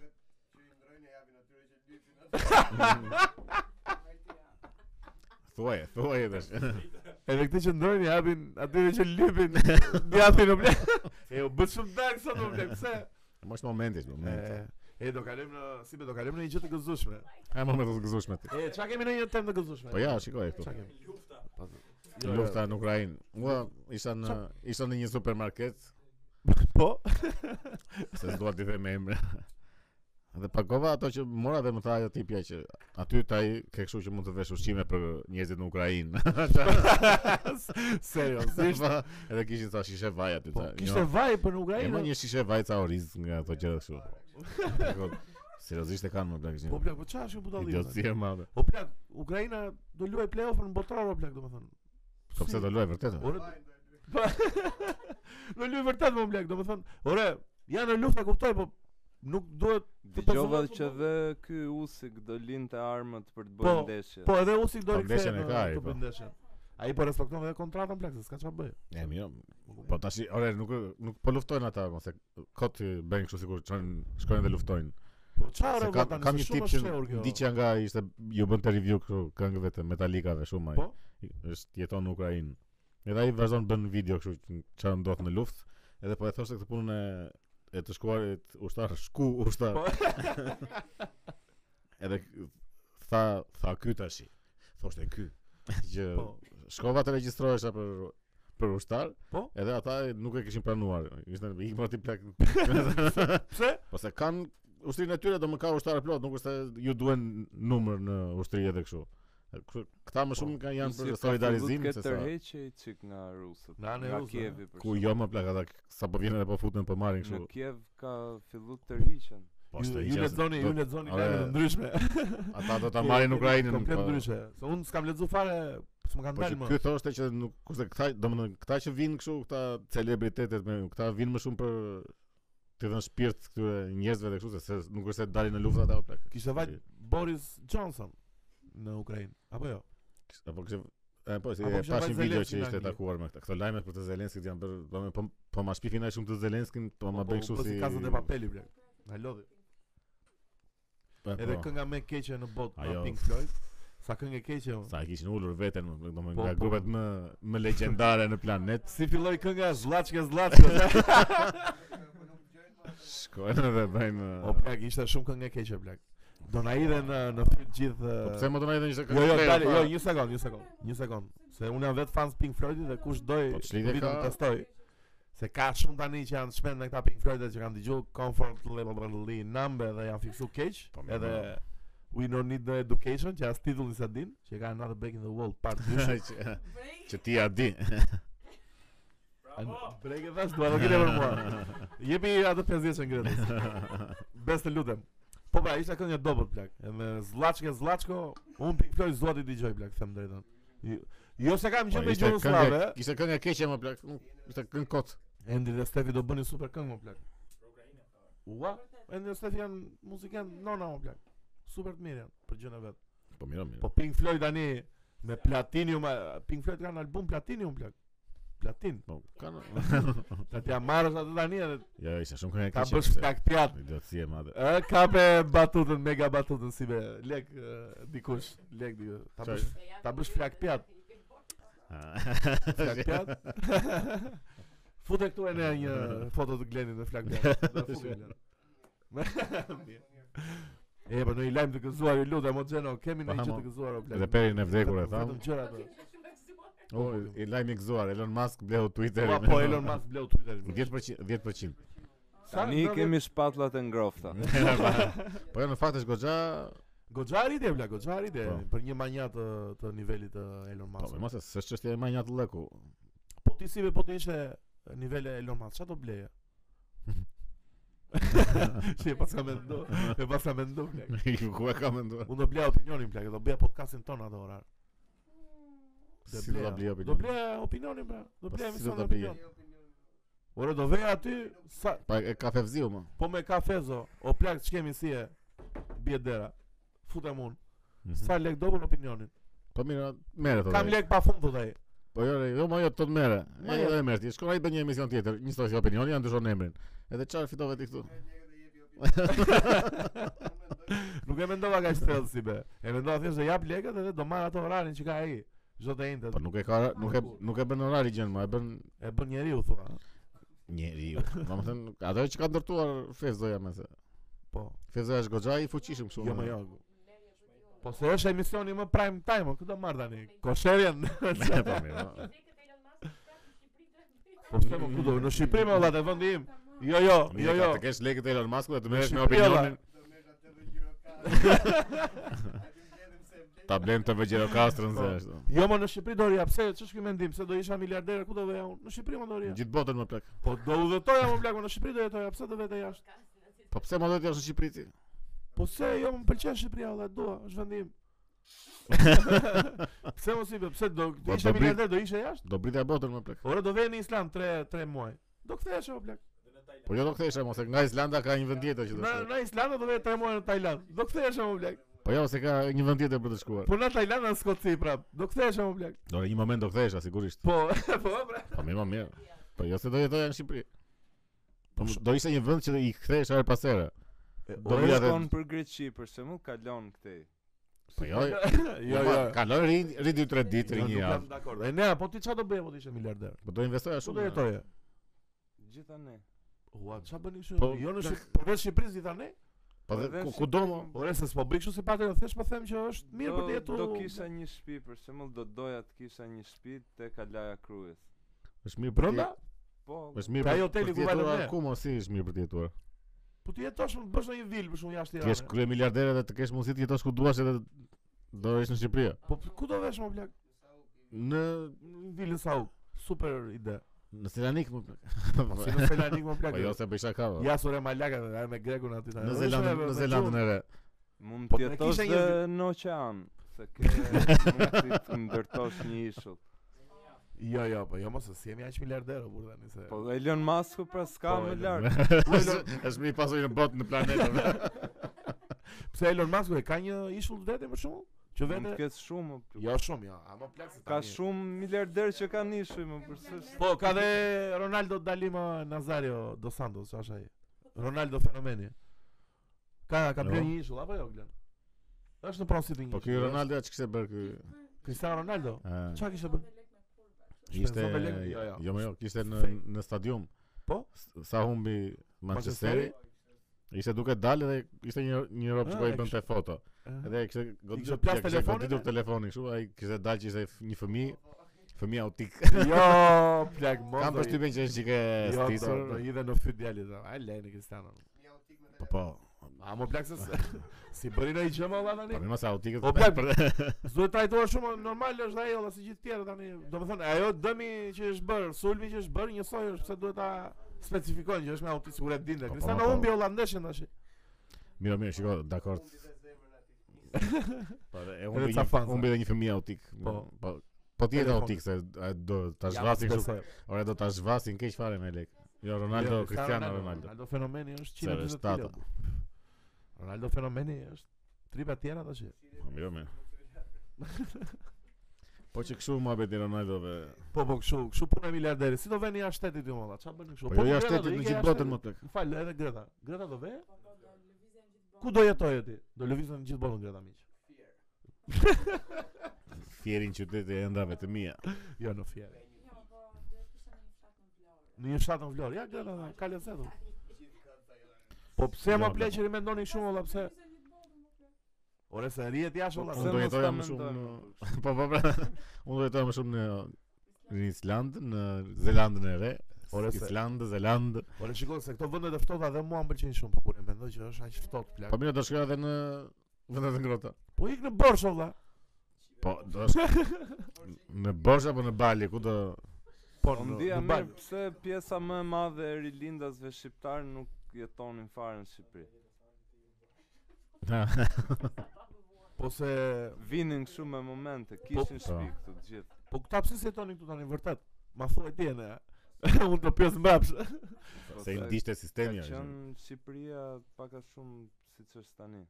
Thuaj, thuaj <laughs> tash. Edhe këtë që ndrojnë i hapin atyre që lypin djathtin në blek. E u bë shumë dark sot në blek. Pse? Mos momenti, momenti. E, e do kalojmë në si be do kalojmë në një gjë të gëzueshme. Ha moment të zgjuash me ti. E çka kemi në një temë të gëzueshme? Po ja, shikoj këtu. Çka kemi? Lufta. Lufta në Ukrainë. Ua, isha në isha në një supermarket, Po. se s'dua t'i them emra. <laughs> Dhe pakova ato që mora dhe më tha ajo tipja që aty ta i ke kështu që mund të vesh ushqime për njerëzit në Ukrainë. <laughs> Po? <laughs> Seriozisht. Po, Edhe kishin sa shishe vaj aty. jo. Po tha. kishte vaj për në E më Ukrainë. një shishe vajca oriz nga ato gjëra kështu. Shiko, Seriozisht e kanë më plak Po ishin. blek, po çfarë është kjo budallia? Idiotësi e madhe. O plak, Ukraina do luaj play-offën botror o plak domethënë. Po pse do luaj vërtet? o? Ore. <laughs> Po. Do luaj vërtet më plak domethënë. Ore, janë në luftë e kuptoj, po nuk duhet Dëgjova personazhet që futbollit. dhe ky Usik do linte armët për të Po, bërë ndeshje. po edhe usi do Po, rikthehet. ndeshjen e ka ai, këtu po. për ndeshjen. Ai po respekton edhe kontratën plak, se s'ka çfarë bëj. E mirë. Po tash ore nuk nuk po luftojnë ata mos e kot bën kështu sikur çon shkojnë dhe luftojnë. Po çfarë Se ore ka vota, kam nëse një shumë tip është që shehur kjo. ndiqja nga ishte ju bën të review këtu këngëve të Metallicave shumë ai. Po? Është jeton në Ukrainë. Edhe ai vazhdon bën video kështu që çfarë ndodh në luftë, edhe po e thoshte këtë punën e e të shkuarit ushtar shku ushtar. Po. <laughs> edhe k- tha tha ky tash. Thoshte <laughs> ky që Po. shkova të regjistrohesha për për ushtar, Po? edhe ata nuk e kishin pranuar. Ishte ikëm aty plak. <laughs> Pse? po se kanë ushtrinë e tyre do më ka ushtarë plot, nuk është se ju duhen numër në ushtri edhe kështu. Kështu- Këta Po, më shumë kanë janë për solidarizim se se sa tërheqje i çik nga rusët. Nga anë e nga rusëve, Kievi për ku jo më plak ata sa po vjen edhe po futen po marrin shembull. kështu. Në Kiev ka filluar të tërhiqen. Po Ju është ju lexoni, ju lexoni Ore, lajme të ndryshme. Ata do <laughs> ta marrin Kemi Ukrainën. Komplet po- ndryshe. Se unë s'kam lexuar fare, s'më kanë Po që dalë më. ky thoshte që nuk kurse këta, domethënë këta që vinë kështu këta celebritetet me këta vinë më shumë për të dhënë shpirt këtyre njerëzve dhe kështu se, se nuk është se dalin në luftë ata o plak. Kishte vaj Boris Johnson në Ukrainë, apo jo? Apo kishte e, po, si, Apo e, kishte pash vajt një video Zelenski që në ishte Angli. takuar me këta. Këto lajme për të Zelenskit janë bërë, domethënë po po ma shpifin ai shumë të Zelenskin, po ma bëj kështu po si Casa de Papeli bre. Na lodhi. po, Edhe po. kënga më e keqe në botë, Ajo. nga Pink Floyd. Sa këngë e keqe. unë. sa e kishin ulur veten, më plak, domethënë Po, nga po. grupet më më legjendare në planet. Si filloi kënga Zllaçka <laughs> Zllaçka. Shkojnë edhe bëjnë o plak, ishte shumë këngë e keqe plak. Do na idhe në në fyt gjithë. Po pse më do na edhe një Jo, jo, këngë dale, fare? jo, një sekond, një sekond, një sekond. Se unë jam vetë fans Pink Floydit dhe kush doj Po, çlidhe vitin ka- të testoj. Se ka shumë tani që janë shpend në këta Pink Floydet që kanë dëgjuar Comfort Level Number dhe janë fiksu keq, Po, mirë, edhe We No Need No Education që as titulli sa din, që ka Another Break in the Wall Part <laughs> 2. Që- Që ti a di. Break e thash, dua do kile për mua. Jepi atë 50 që ngretës. <laughs> Bes të lutem. Po pra, ishte kënga e dobët plak. Edhe zllaçke zllaçko, un Pink Floyd zua ti dëgjoj plak, them drejtën. Jo- Jo se kam Po, gjë me ishte gjuhën këngë- slave, Ishte këngë e keqe më plak, nuk ishte këngë kot. Endi dhe Stefi do bëni super këngë më plak. Ua, Endi dhe Stefi janë muzikanë nona më plak. Super të mirë janë për gjën e vet. Po mira, mira. Po Pink Floyd tani me Platinium, a- Pink Floyd kanë album Platinium plak. Platin. Po, kanë. <laughs> Ta t'ja marrësh atë tani edhe Ja, ishte shumë këngë e ta keqe. bësh plak tjat. Idiotësi e madhe. Ë kape batutën, mega batutën si be lek e, dikush, lek diku. Ta Çaj. bësh Tá ta bësh flak pjat, <laughs> flak pjat. <laughs> Fute këtu e ne një foto të Glenit me <laughs> flak pjat. Do e fuke, Glen. <laughs> E, po në i lajmë të gëzuar, ju lutem, o Gjeno, kemi në Pa, i gjë mo. të gëzuar, o plek. Edhe Po, perin e vdekur e tham. Vetëm Tá gjëra të. O, i lajmi i gëzuar, Elon Musk bleu Twitterin. Po, po, <laughs> Elon Musk bleu Twitterin. 10% 10%. Sa Tani ndodhet- kemi shpatullat e ngrofta. <laughs> Po jo në fakt është goxha, Goxha arritje, bla, goxha arritje, Po. për një manja të, të nivelit të Elon po Musk. më mos e- s'është çështje e manjat <laughs> lëku. Po ti si be po të ishe nivele Elon Musk, çfarë do <laughs> bleje? Që e pas ka mendo, e pas ka mendo plak. Ku e ka menduar? Unë do bleja opinionin plak, e do bleja podcastin ton atë orar. Do Si do ta bleja- blej opinion? Do bleja opinionin pra, do Po, si bleja do emisionin ta bleje? opinion. Ore do veja aty sa Pa e ka fevziu më. po me kafezo, o plak ç'kemi si e? bie dera. Futem unë. Mhm. Sa lek do për opinionin? Po mira, merre thotë. Kam ai. lek pa fund thot ai. Po jo, re, jo, ma jo, të të merre. Ma E jo. jo e merr ti. Shkon ai bën një emision tjetër, një stosi opinioni, janë dyshon emrin. Edhe çfarë fitove ti këtu? Nuk e mendova kaq thellë si be. E mendova thjesht se jap lekët edhe do marr ato orarin që ka ai. Çdo të njëjtë. Po nuk e ka, nuk e nuk e bën orari gjën, ma e bën E bën njeriu thua. <laughs> njeriu. Domethënë, ato që ka ndërtuar Fevzoja më se. Po. Fevzoja është goxha i fuqishëm kështu. Jo më <laughs> më jo. Po se është emisioni më prime time, o, këto marr tani. <laughs> Kosherjen. po <laughs> mirë. Po pse më kudo në Shqipëri më vëlla te vendi im. Jo jo, jo jo. Të kesh lekët e Elon Musk dhe të merresh me Shqipëri, valla. opinionin. Ta blem të vëgjero kastrën se Po. ashtu. Jo më në Shqipëri do rija, pse ç'është ky mendim, se do isha miliarder ku do veja unë? Në Shqipëri më do Në rija. Gjithë botën më plak. Po do udhëtoja më blaku në Shqipëri do jetoja, pse do vete jashtë? Po pse më duhet jashtë në Shqipëri ti? Po se jo më pëlqen Shqipëria valla, dua, është vendi <laughs> im. <laughs> pse mos i bë, pse do Po, isha do brit- miliarder do isha jashtë? Do britja botën më plak. Ora do vej në Islam 3 3 muaj. Do kthehesh o blak. Po jo do kthesha mos e nga Islanda ka një vend tjetër që do Në shkoj. në Islam do vej 3 muaj në Tajland. Do kthehesh o blak. Po jo se ka një vend tjetër për të shkuar. Po në Tajland në Skoci prap. Do kthehesh o blak. Do në një moment do kthesha sigurisht. Po, <laughs> po pra. Po më më mirë. Po jo se do jetoja në Shqipëri. Po do ishte një vend që i kthehesh her pas here. Do Po vija dhe shkon për Greqi, për shembull, kalon këtej. Po jo. Jo, jo. Kalon ri ri 2-3 ditë ri Nuk një jam javë. dakord. E nea, po ti çfarë do bëje po ti ishe miliarder? Po do investoja Çu do shumë. jetoje? Gjitha ne. Ua, çfarë bëni kështu? Po, jo në plak. Shqip- përveç Shqipërisë i tani? Po Edhe dhe ku në ku do Shqipëri mo? më- Ore se s'po bëj kështu si patë, thësh po them që është mirë për të Do- jetuar. Do kisha një shtëpi, për shembull, do doja të kisha një shtëpi te Kalaja Krues. Është mirë për brenda? Po, Është mirë Pra për- ai për hoteli të ku vajtëm jetuar, ne. Ku mos si është mirë për të jetuar? Po ti jetosh më bësh në një vilë për shkak jashtë Ti je Tiranës. krye miliarder edhe të kesh mundësi të jetosh ku duash edhe do jesh në Shqipëri. Po ku do vesh më blaq? Në Në vilën Sauk. Super ide. në Selanik më plak. <laughs> Po si në Selanik më blaq. Po jo se bëj shaka. po. Ja sore malaka dhe me grekun aty Në tani. Ore, Zelandën, në shore, me Zelandën gjuhë. e re. mund Po, të ne jetosh kisha një dhe në oqean, se <laughs> ke mund të ndërtosh një ishull. Jo, jo, po jo mos se si jemi aq miliarder o burr tani se. Po Elon Musk pra s'ka Po, më Elon lart. <laughs> Është është më i pasur në botë në planetë. <laughs> Pse Elon Musk e ka një ishull vetë për shkakun? Që Mund vetë të ketë shumë. më po, plot. Jo shumë, jo, ama plak se Ka tani- shumë miliarder që kanë ishull, më përsëri. Po, ka dhe Ronaldo Dalima Nazario Dos Santos, çfarë është ai? Ronaldo fenomeni. Ka ka Jo. bler një ishull apo jo Glen? Është në pronësi të një. Po ky ishulli, Ronaldo atë kishte bërë ky. është Cristiano Ronaldo. eh, Çfarë kishte bërë? Ishte Shpenzon me lekë? Jo, jo. jo më jo, kishte në Fake. në stadium. Po? S- Sa humbi Manchesteri. Ishte duke dalë dhe ishte një një rob që Ah, po i e bënte foto. Ëh. Edhe kishte goditur plas ja kishte telefonin, goditur e? telefonin kështu, ai kishte dalë që ishte f- një fëmijë, fëmijë autik. <laughs> Jo, plak mos. Kam përshtypjen që është çike Jo, do stisur. do po, i dhe në fyt djalit. dhe, Ai lejnë Cristiano. Po po. A më plak se s- <laughs> si bëri ai gjë më valla tani? Po më sa autikët. Po, plak, Duhet trajtuar shumë normal është ajo dhe si gjithë tjerë tani. Domethënë ajo dëmi që është bër, sulmi që është bër njësoj është pse duhet ta specifikojnë që është me autizëm kur e dinte. Po, po, po. Cristiano humbi holandeshën tash. <laughs> Mirë, mirë, shiko, dakord. <laughs> Po, e humbi Edhe ca një fansa. humbi edhe një fëmijë autik. Po. po. Po ti je Telefon. autik se a, do ta zhvasin kështu. Ora do ta zhvasin keq fare me lek. Jo Ronaldo, Cristiano Ronaldo. Ronaldo fenomeni është Se 140 është kg. tata. Ronaldo fenomeni është tripa tjera tash. Po mirë, mirë. Po që kështu më abeti Ronaldo dhe... Po po kështu, kështu punë e miliarderit. Si do vëni jashtë shtetit ju molla? Çfarë bën kështu? Po jo Greta jashtë do shtetit në ikë gjithë jashtë botën më plek. shtetit. Më Fal, edhe Greta. Greta do ve? Ku Po, do jetoje ti? Do lëvizën në gjithë botën Greta miq. Fjerin qyteti e ndave të mia. Jo po, në fjerë. Në një fshat në Vlorë. Ja, gjëra, ka lezetu. Po pse Jo, më jo. ple që i mendoni shumë valla pse? po, Ore se rrihet jashtë Po, valla. Unë pse do mos jetoja ta më shumë mendojmë, në... <laughs> Po po pra... Unë do jetoja më shumë në... Në Islandë, në Zelandën e re. Ore, se- Islandë, Zelandë. Ore shikoj se këto vende të ftohta dhe mua më pëlqejnë shumë, po kur e mendoj që është aq ftohtë Po plak. mirë do shkoja edhe në vendet e ngrota. Po ik në Borsh valla. Po do shkoja <laughs> në Borsh apo në Bali, ku do Po Po në ndija në mirë Bal. pse pjesa më e madhe e rilindasve shqiptar nuk jetonin fare në Shqipëri. Ha, Po se Vinin kështu me momente, kishin Po. shtëpi këtu të gjithë. po këta pse se jetoni këtu tani vërtet? Ma thuaj ti ne. <laughs> Unë të pjesë mbrapsht. Po, se i ndishte ka sistemi. a, qenë Shqipëria pak a shumë siç është tani.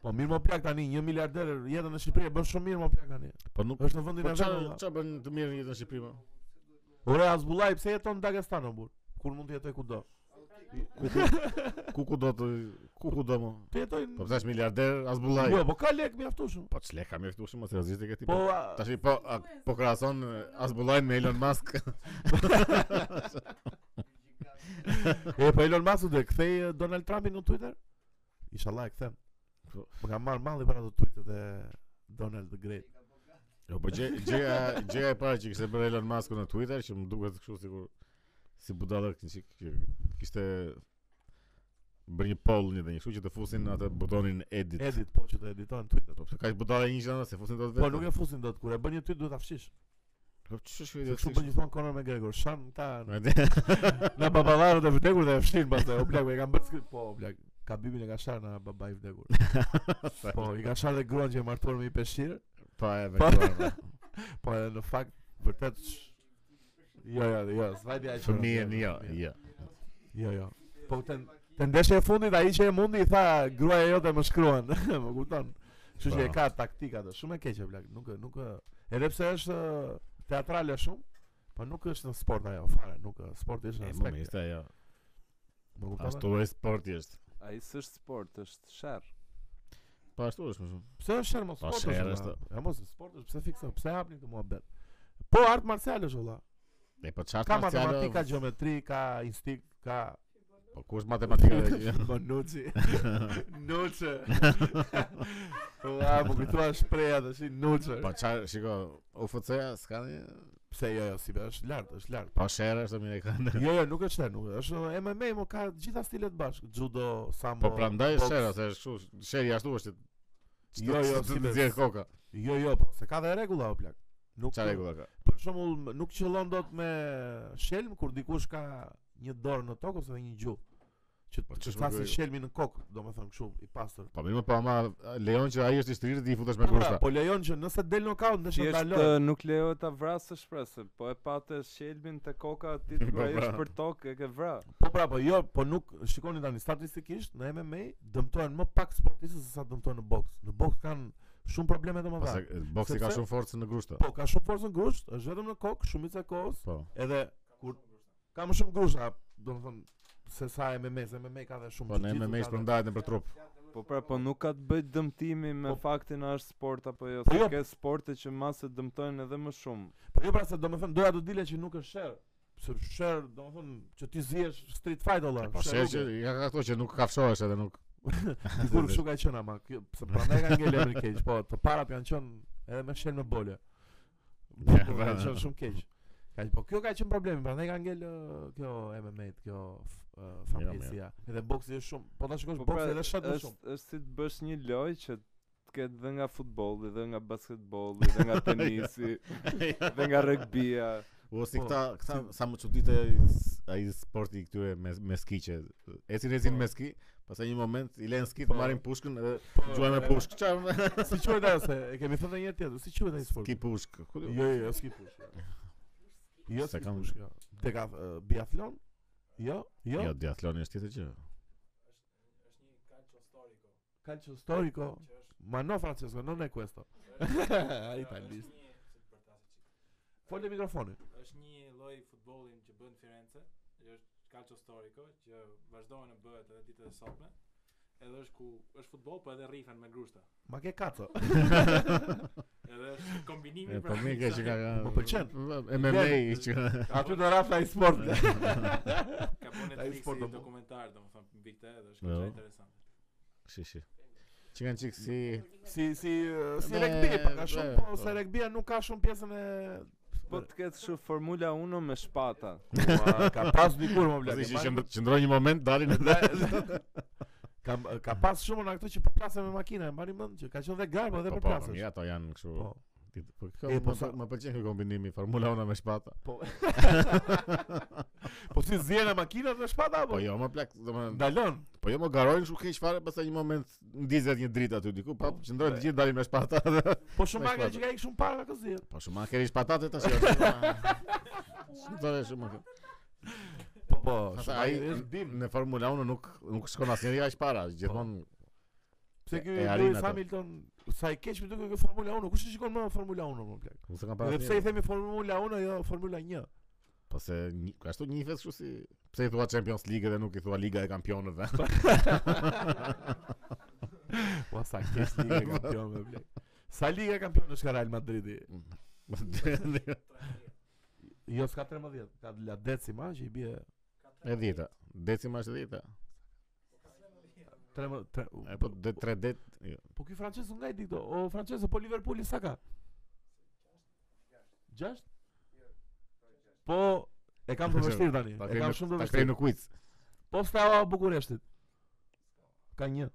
Po mirë më plak tani, një miliarder jetën në Shqipëri e bën shumë mirë më plak tani. Po nuk Është në vendin Po qa, e vet. valla. qa bën të mirë një jetë në Shqipëri po? Ore Azbullaj, pse jeton në Dagestan o burr? Kur mund të jetoj kudo? Ku ku ku ku do të ku ku do më? Të jetoj Po në... pse është miliarder as bullaj. Jo, po ka lek mjaftueshëm. Po çle ka mjaftueshëm mos seriozisht e ke ti. Po Po a- tash po a- po krahason as bullajn me Elon Musk. e po Elon Musk do e kthej eh, Donald Trumpin në Twitter? Inshallah e kthem. Po. Po ka marr malli para të tweetet e Donald the Great. <laughs> Jo, po gjë gjëja gjëja e parë që kishte bërë Elon Musk në Twitter që më duket kështu sikur si budalla që që- që kishte bërë një poll një dhe një, kështu që të fusin atë butonin edit. Edit po që të editojnë Twitter. Po pse ka budalla një që se fusin dot vetë. Po nuk e fusin dot kur e bën një tweet duhet ta fshish. Po ç'është kjo Se ide? Kështu bën gjithmonë Conor McGregor, shan ta gjithmonë. Na baballarët e vdekur dhe e fshin pastaj. O blak, e kanë bërë skript. Po, o blak, Kabibin e ka sharë na babai i vdekur. <laughs> Po, i ka sharë dhe gruan që e martuar me i peshqir. Pa e Po. <laughs> vetë. Po, e në fakt vërtet sh- Jo, jo, jo, s'vajti ai. Fëmijën jo, jo. Jo, jo. Po ten te ndeshja e fundit ai që e mundi i tha gruaja jote më shkruan. <laughs> më kupton? Kështu që e Po. ka taktika atë, shumë e keqe blak, nuk nuk e- edhe pse është ë, teatrale shumë, po nuk është në sport ajo fare, nuk ë, sporti është E në më aspekt. mirë ajo. Më kupton? Ashtu e sporti është. Ai s'është sport, është sherr. Po ashtu është më shumë. Pse është shërmo Po, sport? sherr valla? është. Ja mos sport është, pse fikson? Pse hapni këtë muhabet? Po art marcial është valla. E po çfarë Ka ka matematikë, ka gjeometri, ka instinkt, ka Po ku është matematika dhe <laughs> <laughs> gjë? Bonucci. <laughs> Nuce. Ua, po kujtoa shpreha tash Nuce. Po çfarë, shiko, UFC-ja s'ka një... Pse jo, jo, si be, është lart, është lart. Po shere është amerikane. Jo, jo, nuk është, nuk është. Është MMA, mo ka të gjitha stilet bashkë, judo, sambo. Po prandaj boks. shere, se është kështu, shere ashtu është. që Jo, të- jo, që si të be. nxjerr koka. Jo, jo, po, se ka dhe rregulla o plak. Nuk Çfarë rregulla ka? Për shembull, m- nuk qëllon dot me shelm kur dikush ka një dorë në tokë ose një gjuhë. Që Po, të ç'është flasë rregulla? shelmi në kokë, domethënë kështu, i pastër. Po mirë, po ama lejon që ai është i shtrirë ti i futesh me Po, pra, kushta. Po lejon që nëse del nokaut, ndeshja Thjesht dalon. ë, nuk lejohet ta vrasë shpresë, po e patë shelbin te koka ti <laughs> Po, kur ai pra. është për tokë e ke vra. Po pra, po jo, po nuk shikoni tani statistikisht në MMA dëmtohen më pak sportistë se sa dëmtohen në boks. Në boks kanë shumë probleme të mëdha. Pse boksi ka po, Sepse- shumë forcë në grushta. Po, ka shumë forcë në grusht, është vetëm në kokë, shumica e kohës, Po. edhe kur ka më shumë grushta, domethënë se sa MMA, se MMA ka dhe shumë Po ne jiu-jitsu, me me ka dhe- shpërndahet nëpër trup. Po pra, po nuk ka të bëj dëmtimi me Po- faktin a është sport apo jo. Po Se jo. ke sporte që masë dëmtojnë edhe më shumë. Po jo pra se domethënë doja të dile që nuk është sherr. Se sherr domethënë që ti zihesh street fight olla. Po shere që ja ka ato që nuk kafshohesh edhe nuk. <laughs> Dikur <laughs> kështu ka qenë ama, kjo se prandaj ka ngel emri keq, po të parat janë qenë edhe me shelm në bole. <laughs> Po, Ja, ka pra. qenë shumë keq. Ka, po kjo ka qenë problemi, prandaj ka ngel ë, kjo MMA, -t, kjo f- Jo, ë, familja. Edhe boksi është shumë, po ta shikosh Po pra, boksi edhe shat më është shumë. është si të bësh një lojë që të ketë dhe nga futbolli, dhe nga basketbolli, dhe <laughs> nga tenisi, dhe nga rëgbia. O si Po, këta, këta sa më çudite ai sporti i këtyre me me skiqe. Ecin ecin Po. me ski, pastaj një moment i lën skit, Po. marrin pushkën edhe luajnë me Po, pushkë. Çfarë? Si quhet ajo se e kemi thënë një herë tjetër, si quhet ai sporti? Ki pushkë. Ku do? Jo, jo, jo, ski push. jo. Jo, Se ski kam- push. jo. Deka ë, biathlon? Jo, jo. Jo, diatloni është tjetër gjë. Calcio storico? Ma no Francesco, non è <laughs> questo. Ai italiano. Fol e mikrofoni. është një lloj futbolli që bën Firenze, që është calcio storico, që vazhdon të bëhet edhe ditët e sotme. Edhe është ku është futboll, po edhe rrifen me grushta. Ma che cazzo? Edhe <laughs> është kombinimi E, Po mirë që ka. ka- Më pëlqen. MMA Vjen. që A tu da Rafa in sport. ka Ai bën Netflix sport do i po. bu. dokumentar, domethënë mbi këtë, edhe është Jo. shumë <laughs> interesant. shi shi. Që kanë qikë si <laughs> Si si eh, si Beh, rugby, pa ka beh, shumë po po. se rugby nuk ka shumë pjesën e Po të ketë shu Formula 1 me shpata. Ua, ka pas dikur më Pasi Po, që blaq. qënd- qëndroj një moment dalin edhe Ka ka pas shumë nga këto që përplasen me makina, e mbani mend që ka qenë dhe garbo dhe Po, po, përplasesh. mirë ato janë kështu Po. ti- Po kjo E, po, më sa- më pëlqen ky kombinimi Formula 1 me shpata. Po. <laughs> Po si zjena makinat me shpata apo? Po jo, më plak, domethënë Ndalon. Po jo më garojnë shumë keq fare, pastaj një moment ndizet një dritë aty diku, pa Po, qëndrojnë e. të gjithë dalin me shpata. <laughs> Po shumë Me makina shpata. që ka ikë shumë para ka kozir. <laughs> Po shumë akeri shpatate tash. jo, Shumë Shumë të re, shumë. Po po po, Ata shumë ai ai është dim. në Formula 1 nuk nuk shkon asnjëri aq para, gjithmonë Pse ky e arrin Lewis atë. Hamilton, sa i keq më duket kjo Formula 1, kush e shikon më Formula 1 më plak? nuk se kanë para. Edhe pse i asnjëri. themi Formula 1 jo Formula 1. Po se një, ashtu një fes kështu si pse i thua Champions League dhe nuk i thua Liga e <laughs> Kampionëve. Ua sa keq <laughs> ligë kampion më plak. Sa ligë kampion është ka Real Madridi? Jo, s'ka 13, ka la decima që i bie e dhjeta, decima është e dhjeta. 13. tre- E po de tre det. jo. Po ky Francesco nga i di këto? O Francesco, po Liverpooli sa ka? 6? Po, e kam të vështirë tani. Ta E kemi kam shumë të ta kemi vështirë. në <laughs> quiz. Po stava Bukureshtit. Ka një.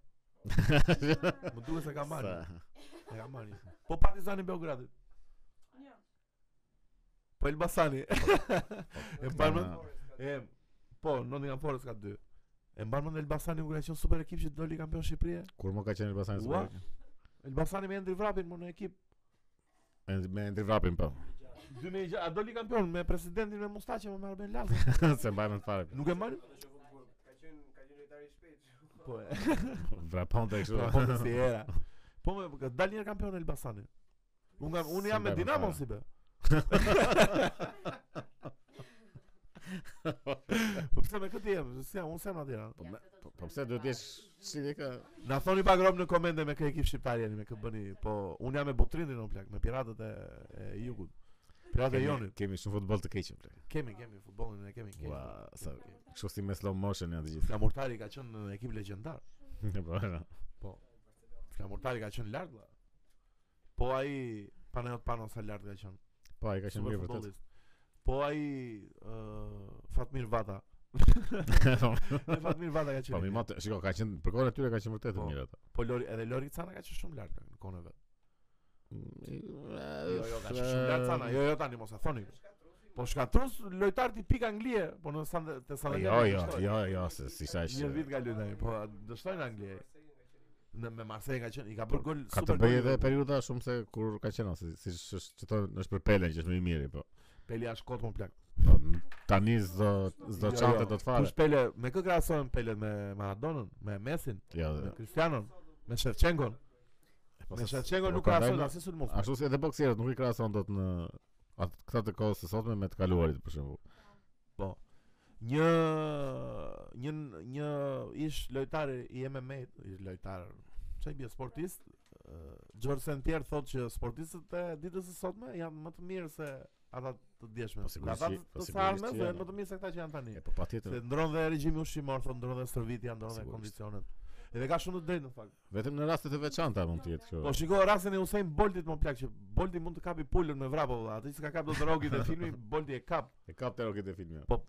Më duhet se ka marrë. Sa- E ka marrë. Po Partizani Beogradit. Po <laughs> Elbasani. e mban mend? E po Nottingham Forest ka 2. E mban mend Elbasani kur ka qenë super ekip që doli kampion Shqipërie? Kur më ka qenë Elbasani Ua. super. Elbasani me Endri Vrapin më në ekip. E, Me ndër vrapin po. <laughs> 2006 a doli kampion me presidentin me mustaqe me Arben Lazar. Se mbajmë të fare. Nuk e marrin? Po. e- Vraponte kështu. Po po si era. Po më ka dalë një kampion Elbasani. Unë kam unë jam me S'mbajmë Dinamo fare. si <laughs> be. Po pse me këtë jam? Si jam, unë sem na Tiranë. Po, me- po- po pse duhet të jesh si dhe ka Na thoni pak rob në komente me kë ekip shqiptar jeni, me kë bëni. Po unë jam me Botrindin on plak, me piratët e, e Jugut. Piratët e Kemi- Jonit. Kemi shumë futboll të keq. bre. Kemi, kemi futbollin, e kemi, kemi. Ua, sa kështu si me slow motion janë të gjithë. Flamurtari ka qenë ekip legjendar. <laughs> Po, e, no. Flamurtari ka qenë lart. vlla. Po ai Panayot Panos sa lart ka qenë. Po, ai ka qenë super mirë <laughs> vërtet. futbollist. Po ai uh, Fatmir Vata. E Fatmir Vata ka Po mi qenë. matë, shiko, ka qenë për kohën e tyre ka qenë vërtet e Po. mirë ata. Po Lori, edhe Lori Cana ka qenë shumë lart në kohën e vet. Jo, jo, ka qenë shumë lart Cana. Jo, jo tani mos e thoni. Po shkatrus lojtar ti pik Anglie, po në San te San Jo, jo, jo, jo, se si sa Një vit ishte. ka luajtur tani, po a- dështoi në Angli. ai? Në me Marseille ka qenë, i ka bërë gol Ka super të bëjë gol edhe Liverpool. periudha shumë se kur ka qenë ose si që thonë është për Pele që është më i miri, po. Pele as kot më plak. Po tani s'do s'do Jo, çante jo. do të fare. Kush Pele, me kë krahasohen Pele me Maradonën, me Messin, Jo, me jo. Cristianon, me Shevchenkon. Po, Me se- Shevchenko po, nuk prandaj krahasohet më- as sulmos. Ashtu si edhe boksierët nuk i krahason dot në atë këta të kohës së sotme me të kaluarit për shembull. Një një një ish lojtar i MMA, ish lojtar, çaj bie sportist, ë, George St Pierre thotë që sportistët e ditës së sotme janë më të mirë se ata të djeshme. Po, sigurisht ata që- të- po, të sigurisht sarme që janë janë. më të mirë se këta që janë tani. E po patjetër. Se ndron dhe regjimi ushqimor, thonë ndron dhe stërvitja, ndron dhe Sigurisht. kondicionet. Edhe ka shumë të drejtë në fakt. Vetëm në raste të veçanta mund të jetë kjo. Po shiko rastin e Usain Boltit më plak që Bolti mund të kapi pulën me vrapo valla. Atë që ka kap do të Rocky te <laughs> filmi, Bolti e kap. E kap të roket e filmi. Po,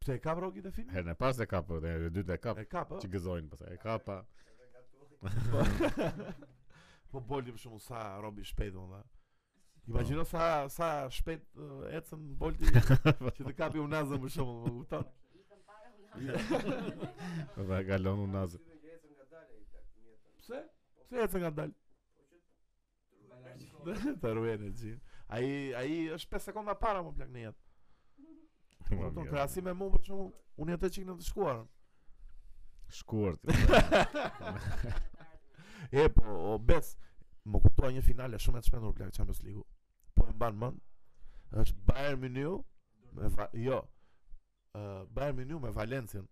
Pse e kap Rocky te filmi? Herën e parë se kap, dhe e dytë e kap. E kap, Që ë. gëzojnë pastaj. E kapa. Po, po Bolti për shembull sa robi shpejt valla. Imagjino Po. sa sa shpejt ë, ecën <laughs> Bolti që Po të kapi Unazën për shembull, më kupton? Dhe galon unë nazë. Pse? Pse ecën nga dal? Po <laughs> Të ruajnë gjin. Ai ai është 5 sekonda para më plak në jetë. Po Ma kupton, mirë. krahasim me mua për shembull, unë jam të çik në të shkuarën. <laughs> Shkuart. E po, o bes, më kuptova një finale shumë e të shpendur plak Champions League-u. Po e mban mend. Është Bayern Munich me Va- jo. Uh, Bayern Munich me Valencien.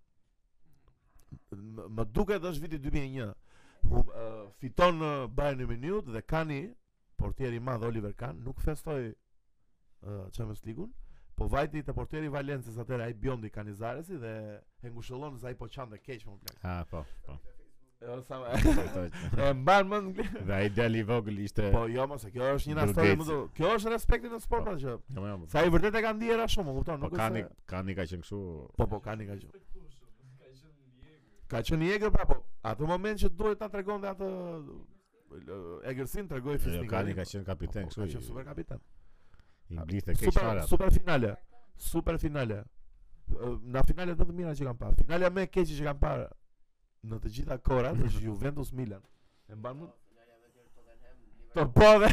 M- Më duket është viti 2001. Hum, uh, fiton uh, Bayern Munich dhe Kani, portieri i madh Oliver Kahn, nuk festoi uh, Champions League-un. Po vajti te portieri i Valencës atëherë ai Biondi Kanizaresi dhe e ngushëllon se ai po çante keq më plak. Ha, po. po. Jo sa <laughs> Kujtoj. e mban mend Dhe ai djali i vogël ishte Po jo mos, e kjo është një histori më Dërgeci. do. Kjo është respekti në sport pra që Jo, jo, po. sa i vërtet e kanë ndjera shumë, më kupton, Po nuk kani, është. se- kani ka qenë kështu. Jo, Po po kanë ka qenë. Ka qenë i egër pra, po atë moment që duhet ta tregonte atë e, egërsin tregoi Jo, fisnik. Kani ka qenë kapiten po, Ka qenë kështu. super kapitan. i- I mblidhte keq fare. Super atë. super finale. Super finale. Ë, Na finalet më të mira që kam parë. Finalja më e keqe që kam parë <laughs> në të gjitha korat është Juventus Milan. E mban më Të bëve.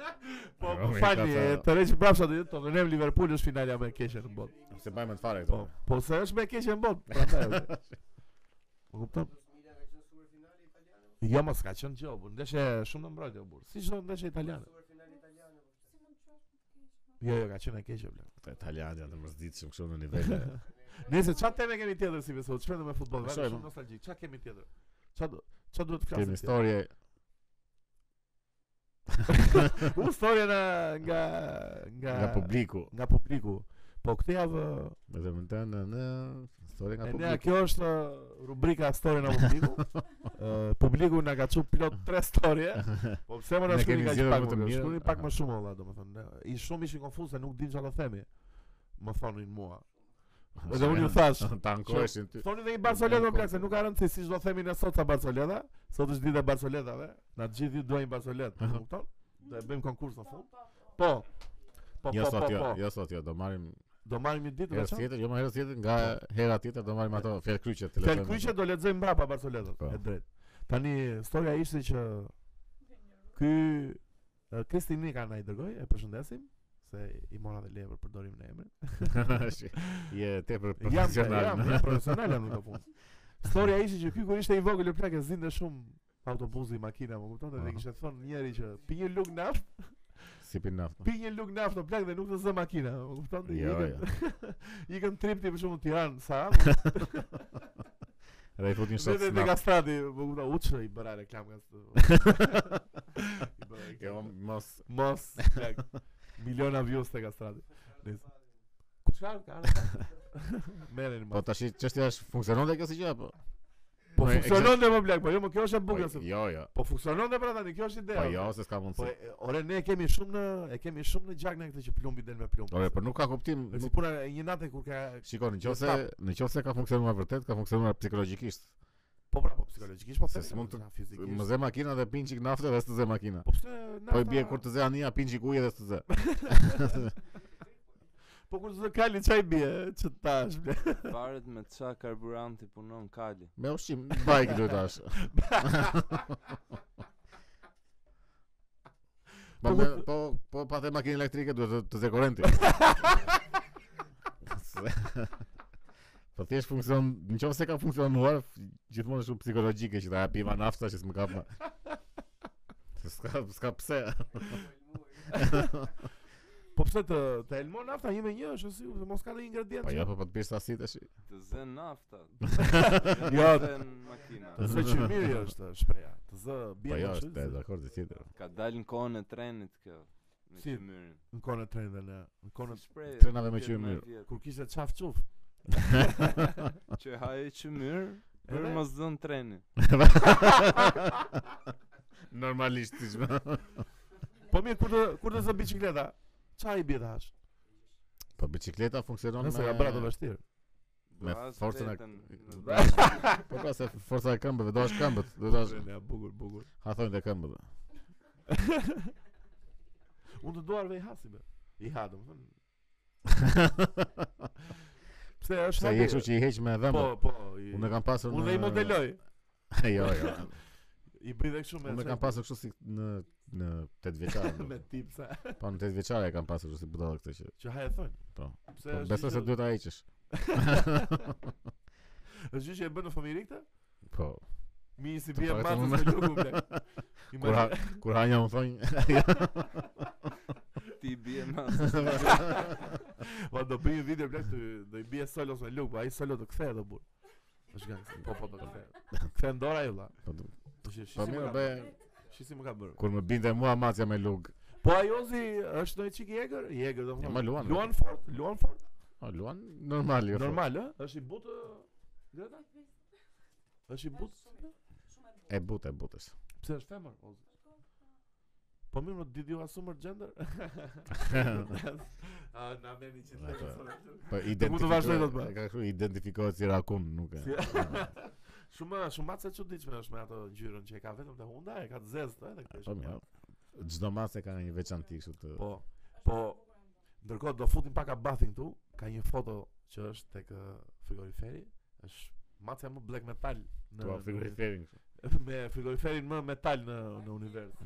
<laughs> po, Romi fali, ka ca- e, të rreqë brapsha të të vënem Liverpool është finalja me keqe në botë. Se bajmë të fare këto. Po, po se është me keqe në botë, <laughs> prandaj. Po kupton? Jo, mos ka qenë gjë, burr. Ndeshje shumë në mbrojtje, burr. Si çdo ndeshje italiane. Jo, jo, ka qenë e keqe, bla. Këta italianë janë të mërzitshëm kështu në <laughs> nivele. Nëse çfarë teme kemi tjetër si besoj, çfarë do me futboll, Shojmë. vajmë shumë nostalgjik. Çfarë kemi tjetër? Çfarë do- çfarë duhet të flasim? Kemi tjetër? historie. U historia na nga nga nga publiku. nga publiku. Po këtë javë Me të mëntë në në historie nga e nea publiku. kjo është uh, rubrika historia nga <laughs> publiku. Ë, publiku na ka çu pilot tre historie. Po pse më na Ne shkruani kemi kaq zgjedhur pak më më të mirë. shkruani pak Aha. më shumë olla domethënë. ne- I shumë ishin konfuz se nuk din çfarë të themi. Më thonin mua. Edhe unë ju thash. <laughs> Ta ankoheshin ty. Thoni dhe i Barcelona Nuk plak se konfuz. nuk ka rëndësi siç do themi ne sot sa Barcelona. Sot është dita e Barcelonave. Na të gjithë ju duajmë <laughs> Barcelonat, e Aha. kupton? Do e bëjmë konkurs në fund. Po. Po, po, Jo po, sot jo, po. jo sot jo, do marrim Do marrim një ditë herë veçantë. tjetër, jo më herë tjetër, nga hera tjetër do marrim ato fjalë kryqe të Fjalë kryqe do lexojmë mbrapa Barcelonën, Po. e drejtë. Tani historia ishte që ky e, Kristi Nika na i dërgoi, e përshëndesim se i mora dhe leje për përdorimin e emrit. Je tepër Jam profesional. jam, jam profesional jam në këtë <laughs> punë. Historia ishte që ky kur ishte i vogël e plakë zinte shumë autobusi, makina, më kupton, dhe Aha. kishte thënë njëri që pi një lugë naft, Si pin naftë. pi një lugë naft në plak dhe nuk të zë makina, më kupton? dhe Jo, ikën- Ikën trip ti për shkakun Tiranë, sa Edhe i futin Dhe shot dhe dhe naftë. gastrati, më kupton, u çë i bëra reklam <laughs> gastrati. I bëra Jo, reklam. mos Mos, plak. Miliona views te gastrati. Nice. Kush ka ka? <laughs> Merreni Po më. tash çështja është funksionon dhe kjo si gjë apo? Po po, e- funksionon dhe më plak, po jo më kjo është e bukur se. Po, Jo, jo. Po funksionon dhe pra tani, kjo është ideja. Po jo, se s'ka Po mundësi. e- e- ore ne e kemi shumë në e kemi shumë në gjak në këtë që plumbi del me plumb. Ore, po nuk ka kuptim. Është si Nuk... puna e një natë kur ka Shiko, në qoftë se në qoftë se ka funksionuar vërtet, ka funksionuar psikologjikisht. po pra po psikologjikisht po Se themi, s'mund po, të- na fizikisht. Më zë makina dhe pin çik naftë dhe s'të zë makina. Po pse Po nafta- i bie kur të zë ania, pin çik ujë dhe s'të zë. Po kur të kali çaj bie, që tash. ble. Varet me qa karburanti punon kali. Me ushqim bajk duhet tash. Po Po, me, po- po po pa the makinë elektrike duhet të- të zë korrenti. Se- Po thjesht funksion, në qoftë se ka funksionuar, f- gjithmonë është shumë psikologjike që ta ja pima nafta që s'më kap ma. Se S'ka, s'ka pse. Po pse të të elmon nafta një me një, është si se mos ka ndonjë ingredient. Po që- jo, po po të bjesh sasi tash. Të zën <laughs> nafta. Jo, Të zën makina. Të zë që mirë është shpreha. Të zë Po bie jo, më është e, shumë. dakord e tjetër. Ka dalë në kohën e trenit kjo. Me Si? qymyrin. Në kohën e trendeve në në kohën e- Shprej, trenave me qymyr. kur kishte çaf çuf. Që haje qymyr, për Edhe? mos zën treni. Normalisht ti çmë. Po mirë kur të kur të zë biçikleta, çfarë i bie tash? Po bicikleta funksionon Nëse ka bratë vështirë. me Dras forcën e veten në Dras- Po ka se forca e këmbëve, do as këmbët, do ta Ne bukur bukur. ha thonë te <laughs> këmbët. Unë të duarve i hasi be. I ha domethënë. Pse është Sa je kështu që i heq me dhëmbë. Po, po. i- Unë e kam pasur Unë dhe i në- modeloj. <laughs> Jo, <laughs> jo. I bëj dhe kështu me. Unë e çaj- kam pasur kështu si në në 8 <laughs> me vjeçare. tipsa <laughs> Po në 8 vjeçare e kam pasur kështu si budalla këtë që. që ha e thonë. Po. Pse Po është besoj gjë se që- duhet ta <laughs> heqësh. Është gjë që e bën në familje këtë? Po. Mi si Të bie paktën matës unë- me lugu bla. <laughs> Kur ha kur hanja u thonjë. Ti <laughs> bie ma <laughs> Po do bëj një video bla këtu, do i bie solo me lugu, ai solo do kthehet do burr. Është gans. Po po do kthehet. Kthen dora ai vlla. Po, do- Po shi shi Po si më mirë ka be bërë. Shi si më ka bërë. kur më binte mua macja me lug. Po ajozi është ndonjë çik i egër, i egër Ja, do thonë. ma luan, Luan fort, luan fort. Po luan normal jo. Normal, ë? Është i butë Greta? Është i butë? E but e butës. Pse është femër? o zë? Po mirë, më did ju asumër gender? <laughs> <laughs> A, na merrni që të Na lejë të- sot. Po mund të vazhdoj identifikohet. dot, bra. e Ka kështu identifikohet si rakun, nuk e. Shumë shumë matë e çuditshme është me ato ngjyrën që e ka vetëm te hunda, e ka të zezë edhe këtë. <laughs> Po mirë. Çdo masë ka një veçanti kështu të. Po, po ndërkohë do futim pak abathin këtu, ka një foto që është tek ë, frigoriferi, është macja më black metal në <laughs> Po figurë fering. me frigoriferin më metal në në univers.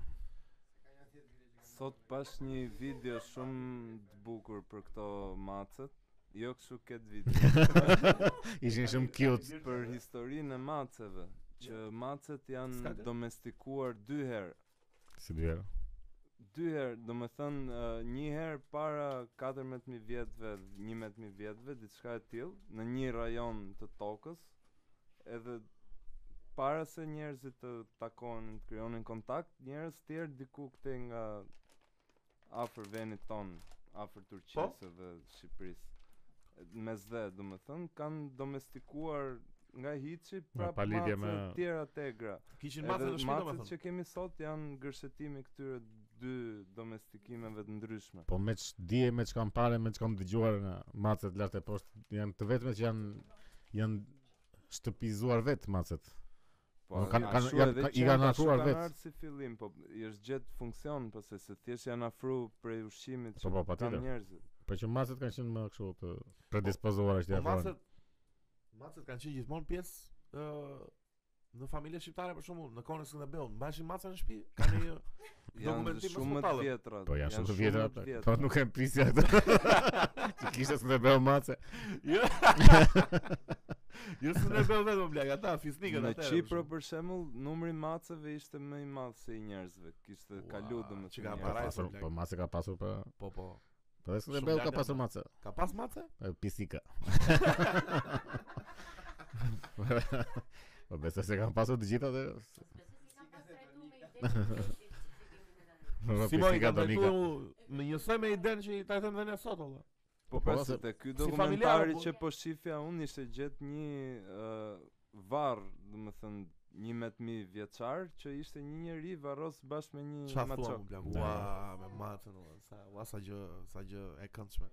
Sot pash një video shumë të bukur për këto macet. Jo kështu këtë <laughs> video. Ishin shumë cute. për historinë e maceve, që macet S'ka janë gjë. domestikuar dy herë. Si dy herë. Dy herë, do me thënë, ë, një herë para 14.000 vjetëve, 11.000 vjetëve, diçka e tillë, në një rajon të tokës, edhe para se njerëzit të takonin, të krijonin kontakt, njerëz tjerë diku këtej nga afër vendit tonë, afër Turqisë dhe Shqipërisë. Mes dhe, do me thënë, kanë domestikuar nga hiçi Nga prapë palidhje macet me- tjera tegra. Kishin Edhe macet në shtëpi macet domethënë. që kemi sot janë gërshetimi këtyre dy domestikimeve të ndryshme. Po me që dije, me që kam pare, me që kam dëgjuar nga macet lartë e poshtë, janë të vetme që janë, janë shtëpizuar vetë macet. Po Nuk kanë- kanë- ashtu janë- edhe kanë- i qenë, kanë ashtu afruar kanë vetë. ardhë si fillim, po i është gjetë funksion, po se se thjesht janë afru prej ushqimit Po, që po, kanë patjetër. njerëzit. Po që macet kanë qenë më kështu të predispozuar është Po ja. macet macet kanë qenë gjithmonë pjesë ë në familje shqiptare për shembull, në kohën e Skënderbeut, mbashin maca në shtëpi, kanë një <laughs> Janë Dokumentim shumë më të hospitale. vjetra. Po janë shumë të vjetra. të ata. Po nuk e prisja <laughs> ato. Që kishte së të bëu mace. Jo. Jo s'u ne bëu vetëm blaq, ata fisnikët Në atë. Çipro për shembull, numri i maceve ishte më i madh se i njerëzve. Kishte Ua, kalu domethënë. që ka Po, njerëz. paraj, pasur- blaq. Po mace ka pasur për... po po. Po dhe së të pra, Shumë bëu lartë ka janë pasur mace. Ka pas mace? E, <laughs> Pisika. Po besa se kanë pasur të gjitha dhe... Si më i Po Pisika kanë donika. trajtuar me njësoj me idenë që i trajtojmë dhe ne sot olla. Po Po, pra po, se se- te ky si familjar, dokumentari po. që po shifja unë ishte gjetë një uh, varr, do të thënë një metmi vjeçar që ishte një njeri varros bashkë me një Çfarë thua maço. më blaq? Da. Ua, me macën olla. Sa ua sa gjë, sa gjë e këndshme.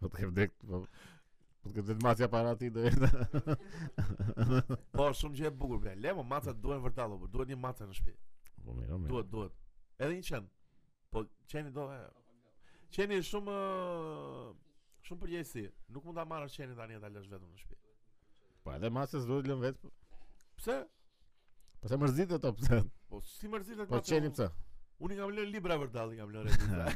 Po të kem drejt... Po po të kem drejt macja para ti do jetë. <laughs> <laughs> Po shumë gjë e bukur blaq. Lemo macat duhen vërtet olla, duhet një macë në shtëpi. Po mirë, mirë. Duhet, duhet. Edhe një qen. Po qeni do e. Qeni është shumë ë, shumë përgjegjësi. Nuk mund ta marrësh qenin tani e ta lësh vetëm në shtëpi. Po edhe macës duhet lënë vetë. po- Pse? Po se mërzitet ato pse? Po si mërzitet Po mace, çeli unë- pse? Unë i kam lënë libra për dalli, kam lënë libra.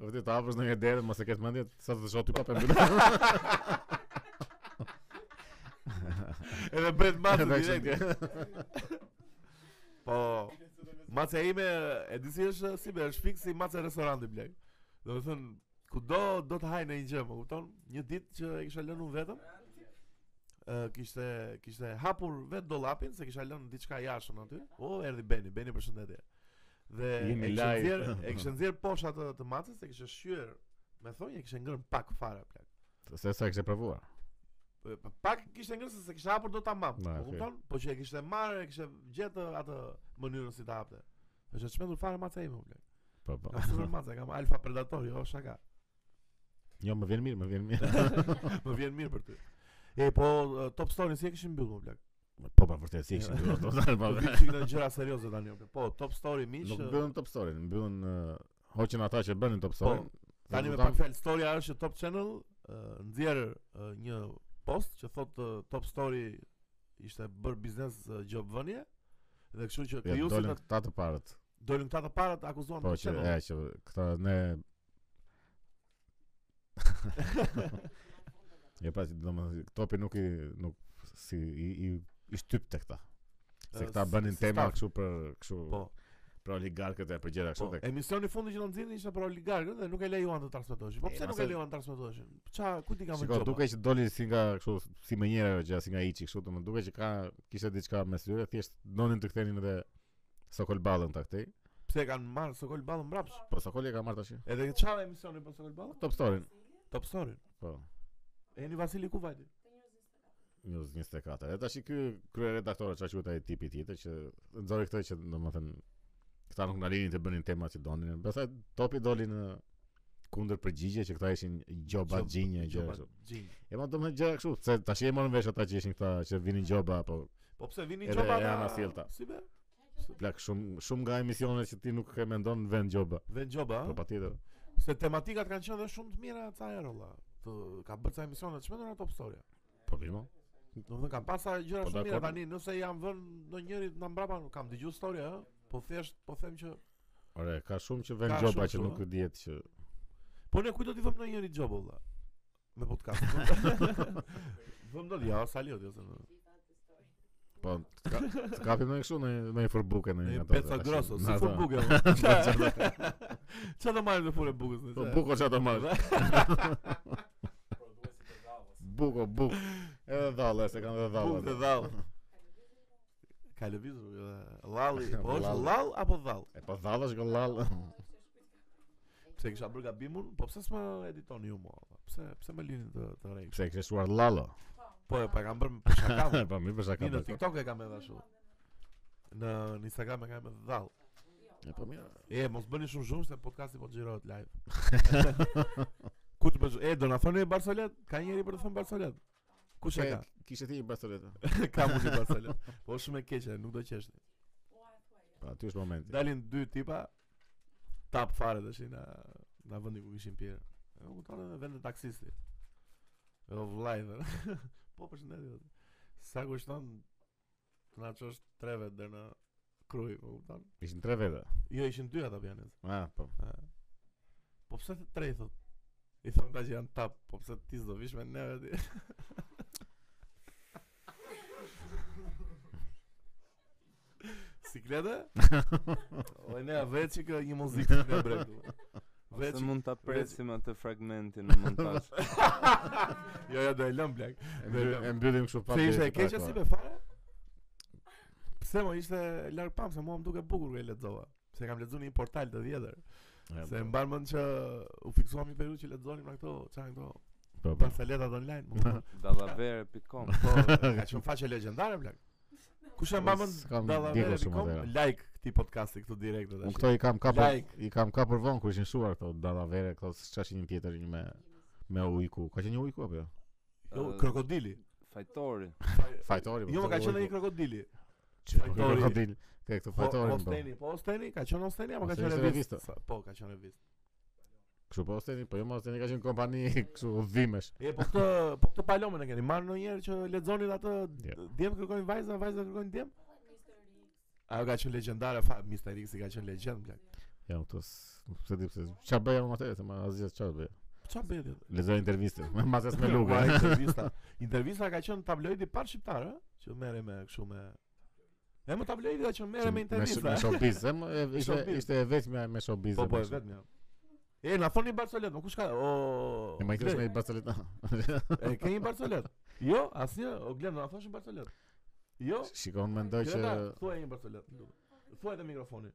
Vërtet ta hapësh në një derë, mos e ketë mendje sa të shoh ty pa pendull. Edhe bëhet <laughs> mace Edhe direkt. <laughs> Po mace ime e di si është si be, është fiksi mace e restoranti blej. Do të thënë kudo do të haj në një gjë, më kupton? Një ditë që e kisha lënë unë vetëm, ë kishte kishte hapur vet dollapin se kisha lënë diçka jashtëm aty. O erdhi Beni, Beni përshëndetje. Dhe Jemi e kisha live. nxjerr, <laughs> e kisha nxjerr poshtë atë të macës, e kisha shyer. Me thonjë e kisha ngrënë pak fare plak. Se sa e kishe provuar. Po, po, pak kishte ngrënë se se kishte hapur do ta mam. Na, Po okay. kupton? Po që e kishte marrë, e kishte gjetë atë mënyrën si ta hapte. Është e çmendur fare maca <laughs> ime ulë. Po po. Kam super maca, kam alfa predator, jo shaka. Jo, më vjen mirë, më vjen mirë. Më vjen mirë për ty. E po eh, Top Story si e kishin mbyllur ulë. Po pa vërtet si e kishin bërë ato tani, po. <laughs> Po vi çik në gjëra serioze tani ulë. Po Top Story miq. Nuk eh, bëhen top story, mbyllen uh, hoqën ata që bënin top story. Tani me pak fjalë storia është që Top Channel eh, nxjerr eh, një post që thotë eh, Top Story ishte bër biznes eh, gjobvënie dhe kështu që Ja, krijuesit dolën e- këta të parët. dolën këta të parët akuzuan Po Top që Channel. e që këta <laughs> ne Ja pra, do më topi nuk i nuk si i i, i shtypte këta. Se Eh, këta si- bënin si tema staf. kështu për kështu Po. për oligarkët e për gjëra kështu Po, tek. emisioni i fundit që do nxjerrin ishte për oligarkët dhe nuk e lejuan të transmetoheshin. Po E, pse nuk mase- e lejuan të transmetoheshin? Ça, ku ti kanë Shiko, duke vënë duke që doli si nga kështu si më njëra ajo gjë, si nga Içi kështu, domun duke që ka kishte diçka mes tyre, thjesht donin të kthenin edhe Sokol Ballën ta këtej. pse kanë marrë Sokol Ballën mbrapsh? Po Sokoli e ka marrë tash. Edhe ça emisioni për Sokol Ballën? Top story. Top Story. Po. Eni Vasili ku vajti? News 24. E tash i ky kryeredaktori çka quhet ai tipi tjetër që nxori këtë që domethënë këta nuk na linin të bënin tema që donin. Pastaj topi doli në kundër përgjigje që këta ishin gjoba gjinje gjëra kështu. Gjinj. E ma domethënë gjëra kështu, se tash e morën vesh ata që ishin këta që vinin gjoba apo Po pse vini Edhe çopa janë asjellta. Si be? plak shumë shumë nga emisionet që ti nuk e mendon në vend gjoba. Vën çopa, Po patjetër. se tematikat kanë qenë dhe shumë të mira ca herë olla. Të ka bërë ca emisione të çmendura Top Story. Po mirë. mo. Do të thënë kam pasa gjëra Po, shumë mira dakord. tani, nëse jam vënë ndonjëri na mbrapa, nuk kam dëgjuar story, ëh. Po thjesht po them që Ore, ka shumë që vend Ka gjoba shumë që këtu, nuk e dihet që po ne kujt do t'i vëmë ndonjëri job valla. Me <laughs> podcast. Vëm do ja, saliot jo se. në- po të ka- të kapim në kështu në në një furbuke në një Në ato. Peca tash, Grosso, në si ato. fur <laughs> bukë. Çfarë do marrim në furë bukës? Po nëse- buko çato marr. Produesi të dallës. Buko, buk. Edhe dhalla, se kanë edhe dhalla. Bukë të dhall. Ka lëvizur ë, <laughs> llalli, po është Lall. llall apo dhall? E po dhalla është gollall. Pse kisha bërë gabimun, po pse s'më editoni ju mua? Pse pse më lini të të rrej? Pse e kishe shuar lalo? Po e pa kam bërë për <laughs> shakam. Po mirë për shaka. Ni në dakor. TikTok e kam edhe ashtu. Në në Instagram e kam edhe dhall. E po mirë. E mos bëni shumë shumë se podcasti po xhirohet live. Kuç bëj? E do na thoni Barcelonet? Ka njëri për të thënë Barcelonet? Kush e Pse ka? <laughs> kishe ti një bastoneta? ka mund të Barcelonet. Po është shumë e keqe, nuk do qeshni. Po aty është momenti. Dalin dy tipa tap fare tash na na vendi ku kishin pirë. E u kupton edhe vendi taksisti. E o vllai. dhe. <laughs> po përshëndetje. thotë. Sa kushton të na çosh treve deri në Kruj, po kupton? Ishin tre veta. Jo, ishin dy ata pianet. Ah, po. <laughs> Po pse të tre i thot? I thon ta që janë tap, po pse ti s'do vish me neve ti? <laughs> Siklete? o e nea vetë që kë një muzikë të ne brektu Po Ose Vetë mund ta veç- presim atë fragmentin në <laughs> montazh. që- <laughs> Jo, jo, do e lëm blek E mbyll- E mbyllim kështu pa. Se ishte e keqe si me fare? Pse mo ishte larg pam, se mua më duke bukur kë e lexova Se kam lexuar në një portal të vjetër E, po. Se mban mend që u fiksuam një periudhë që lexonim nga këto, çfarë këto Po, po. Barceletat pra, online, <laughs> më kupton? Dallavere.com. Po, ka qenë faqe legjendare blaq. Kush e S'kam mban mend ndjekur dallavere shumë dikom atëra. like këtij podcasti këtu direkt Unë tash. këto i kam kapur, Like. i kam kapur vonë kur ishin shuar këto dallavere, këto çashin një tjetër një me me ujku. Ka qenë një ujku apo jo? Jo, Ë, krokodili. Fajtori. Fajtori. po, Jo, më këto ka qenë ujku. një krokodili. Që- fajtori. Krokodil. Ka këto Po, fajtori. po. Osteni, po Osteni, ka qenë Osteni apo ka Osteni qenë ishte revista? revista. Sa- Po, ka qenë revista. Kështu po Osteni, po jo mos Osteni ka qenë kompani <laughs> kështu dhimesh. E po këtë, po këtë palomën e keni marrë ndonjëherë që lexonin atë Jo. djem kërkojnë vajza, vajza kërkojnë djem? Ajo ka qenë legjendare, fa, Mr. X i ka qenë legjend blaq. Jo, këto s- se di pse. Ç'a bëja unë atëherë, se ma asgjë ç'a bëja. Po, Çfarë bëhet? atë? Lezoj <laughs> intervistën, me masës <laughs> me lugë. <laughs> Ua, intervista. Intervista ka qenë tabloidi par shqiptar, ë, që merre me kështu me E më tabloidi ka që merre me intervista. Me ë. showbiz, e më- e- ishte showbiz. ishte e vetmja me showbiz. Po e po me e kështu. vetëm. ja. E na thoni Barcelet, më kush ka? O. E më kthesh me Glen, i Barcelona. <laughs> E ke një Barcelet? Jo, asnjë, o Glen, na thoshin Barcelet. Jo. Shikon mendoj që Greta, thuaj një Barcelet. Thuaj te <laughs> mikrofoni.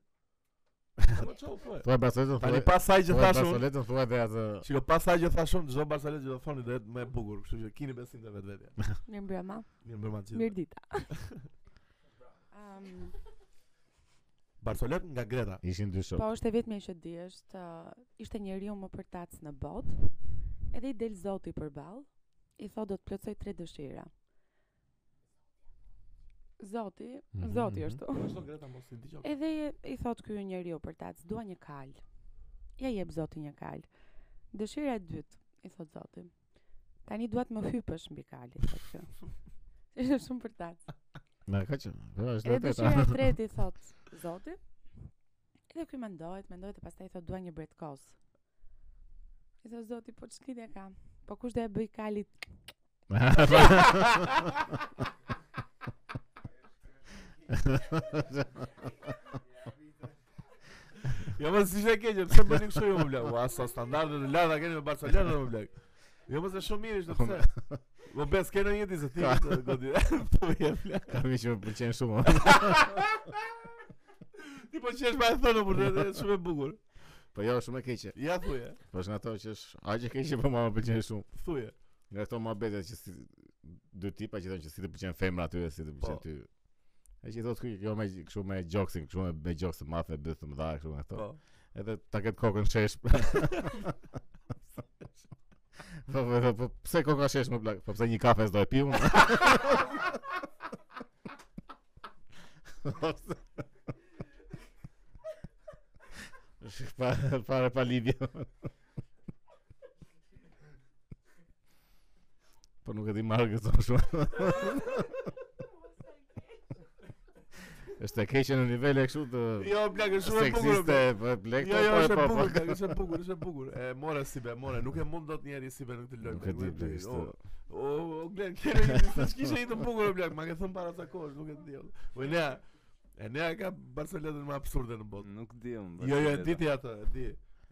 Po çau thuaj. thuaj Barcelona, Tani thuaj pasaj që thuaj thashun. Barcelona, thuaj dhe atë Shiko, pasaj që thashun, çdo Barcelet që do thoni do jetë më e bukur, kështu që keni besim te <laughs> vetvetja. Mirë mbrëma. Mirë mbrëma të Mirë gjithë. dita. um, Barcelet nga Greta. ishin dy shok. po është e vetmja që di, është uh, ishte njeriu më përtac në botë. Edhe i del Zoti përball. I thotë do të plotësoj tre dëshira. Zoti, Mhm, Zoti mhm. është. tu. Vazhdo Greta mos i dëgjoj. <laughs> Edhe i- i thot ky njeriu përtac, dua një kal. Ja jep Zoti një kal. Dëshira e dytë, i thot Zoti. Tani duat më hypësh mbi kalin, thot kjo. Ishte shumë përtac. Na ka që. Po është Edhe vërtet. dëshira e tretë i thot Zoti. Edhe ky mendohet, mendohet e pastaj i thot dua një bretkos. I thot Zoti, po ç'lidhje ka? Po kush do e bëj kalit? <laughs> Jo mos ishte keqe, pse bëni kështu ju më blaq? Ua, sa standarde të larta keni me Barcelonën më blaq. Jo mos e shumë mirë ishte pse. Mo bes kenë një ditë se ti ishte godi. <laughs> Po je blaq. Kam që më pëlqen shumë. Ti po qesh më e thonë por është shumë e bukur. Po jo, shumë e keqe. Ja thuje, Po është nga ato që është aq e keqe, po mua më pëlqen shumë. thuje. Nga këto mohabete që si dy tipa që thonë që si të pëlqen femra aty dhe si të pëlqen Po. ty. E që i thotë kjo me kështu me joksin, kështu me, me jokes të madhe, bëth të mëdha, kështu me ato. Po. Edhe ta ketë kokën shesh. Po po po, po pse koka shesh më plak? Po pse një kafe s'do e pi unë? Është pa para pa lidhje. Po nuk e di marrë gëzon shumë. Është e keqe në nivele kështu të Jo, bla, është shumë e bukur. seksiste, bla. po blek Jo, jo, është e po bukur, po. bla, është e bukur, është e bukur. E more si be, more, nuk e mund dot njëri si be në këtë lojë. Nuk e di blek O, kështu. o, o, bla, kërë një kishe i të bukur, bla, ma ke thënë para sa kohësh, nuk e di. Po ne, e ne ka Barcelonën më absurde në botë. Nuk di unë. Po- Jo, jo, e di ti atë, e di.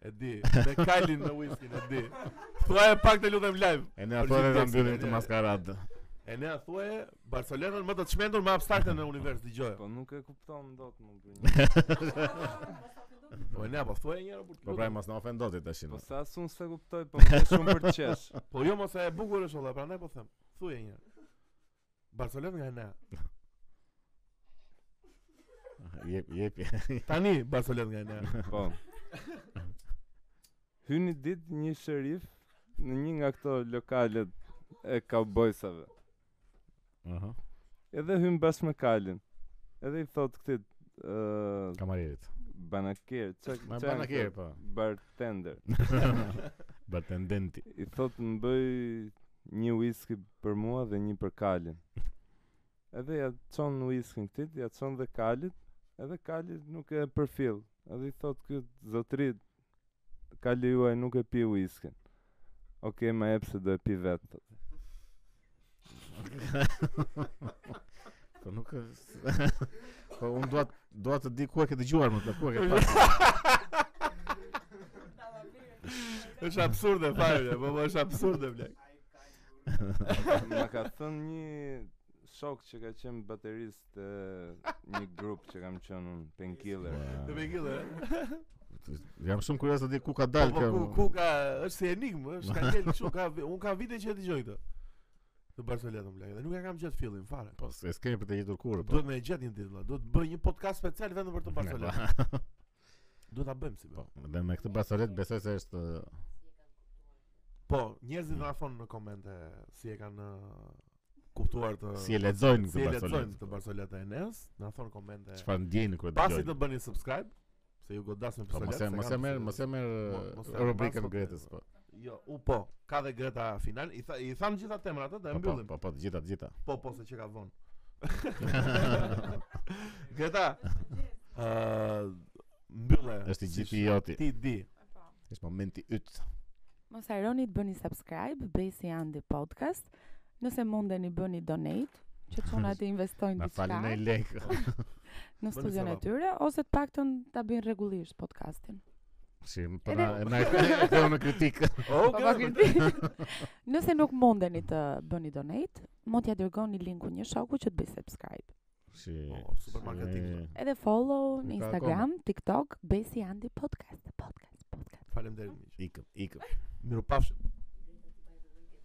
E di, me Kalin me whisky, e di. Thuaj e pak të lutem live. E ne Për ato edhe ta gjithë tekstin, mbyllim e këtë ne- <laughs> maskaradë. E ne thuaj Barcelonën më të çmendur më abstrakte në univers, dëgjoj. Po nuk e kupton dot më <laughs> bën. Po e ne po thuaj njëherë për të Po lutem. pra mos na ofendo ti tashin. Po sa asun se kuptoj, po më ke shumë për të qesh. Po jo mos e bukur është olla, prandaj po them. Thuaj një herë. Barcelona nga ne. Jep, jep. <laughs> Tani Barcelona nga ne. Po. Hyni ditë një sherif në një nga këto lokalet e kaubojsave. Aha. Edhe hyn bashkë me kalin. Edhe i thot këtit ë <laughs> Kamarierit. banakier, çka Ma çka bana janë kje këto? po. Bartender. <laughs> Bartendenti. I thot më bëj një whisky për mua dhe një për kalin. Edhe ja çon whiskin këtit, ja çon dhe kalit, edhe kalit nuk e përfill. Edhe i thot ky zotrit, kali juaj nuk e pi whiskin. Okej, ma jep se do e pi vetë. thot. Po nuk është- Po unë dua dua të di ku e ke dëgjuar më të ku e ke pas. <laughs> Është absurde fare, ble, po po është absurde ble. Ma ka thënë një shok që ka qenë baterist e një grup që kam qenë unë, Painkiller. Të me gjithë. Jam shumë kurioz të di ku ka Po dalë po kjo. ku ku ka është si enigmë, është ka ngel çu ka un ka vite që e dëgjoj këtë. Të Barcelonën ble, dhe nuk e kam gjetë fillin fare. Po se s'kemi për të gjetur kurrë. po. Duhet me e gjetë një ditë, vlla. duhet bëj një podcast special vetëm për të <laughs> Barcelonën. Duhet ta bëjmë si Po, po. dhe me këtë basolet besoj se është Po, njerëzit na thonë në komente si e kanë uh, kuptuar të si e lexojnë Po, si e këtë lexojnë basolet. të Barcelonën e Enes, na thonë komente. Çfarë ndjeni kur e Pasi të dëgjojnë? bëni subscribe, se ju godas me Po pistolet. mos e se mos e kam merr, pistolet. mos e merr Mo- mos e eh, rubrikën mbasko- Gretës po. Jo, u po, ka dhe Greta final, i, tha, i tham gjitha temrat atë, e Po, Po mbyllim. po po të gjitha të gjitha. Po, po, se që ka vonë. <laughs> Greta, uh, mbyllë. Është i si gjithë i sh- joti. Ti di. Është momenti yt. Mos harroni të bëni subscribe, Besi Andi Podcast. Nëse mundeni bëni donate, që çunat të investojnë Na falni në diçka lek. në Bëni studion e sevap. tyre ose të paktën ta bëjnë rregullisht podcastin. Si po na na e ktheu në kritikë. O, Po Greta, pak kriti. <laughs> Nëse nuk mundeni të bëni donate, mund t'ja dërgoni linkun një shoku që të bëj subscribe. Si. Po, supermarketing, si- Edhe follow në Nuk ka Instagram, TikTok, Besi Andi Podcast, podcast, podcast. Faleminderit miq. Ikëm, ikëm. Miru pafshim.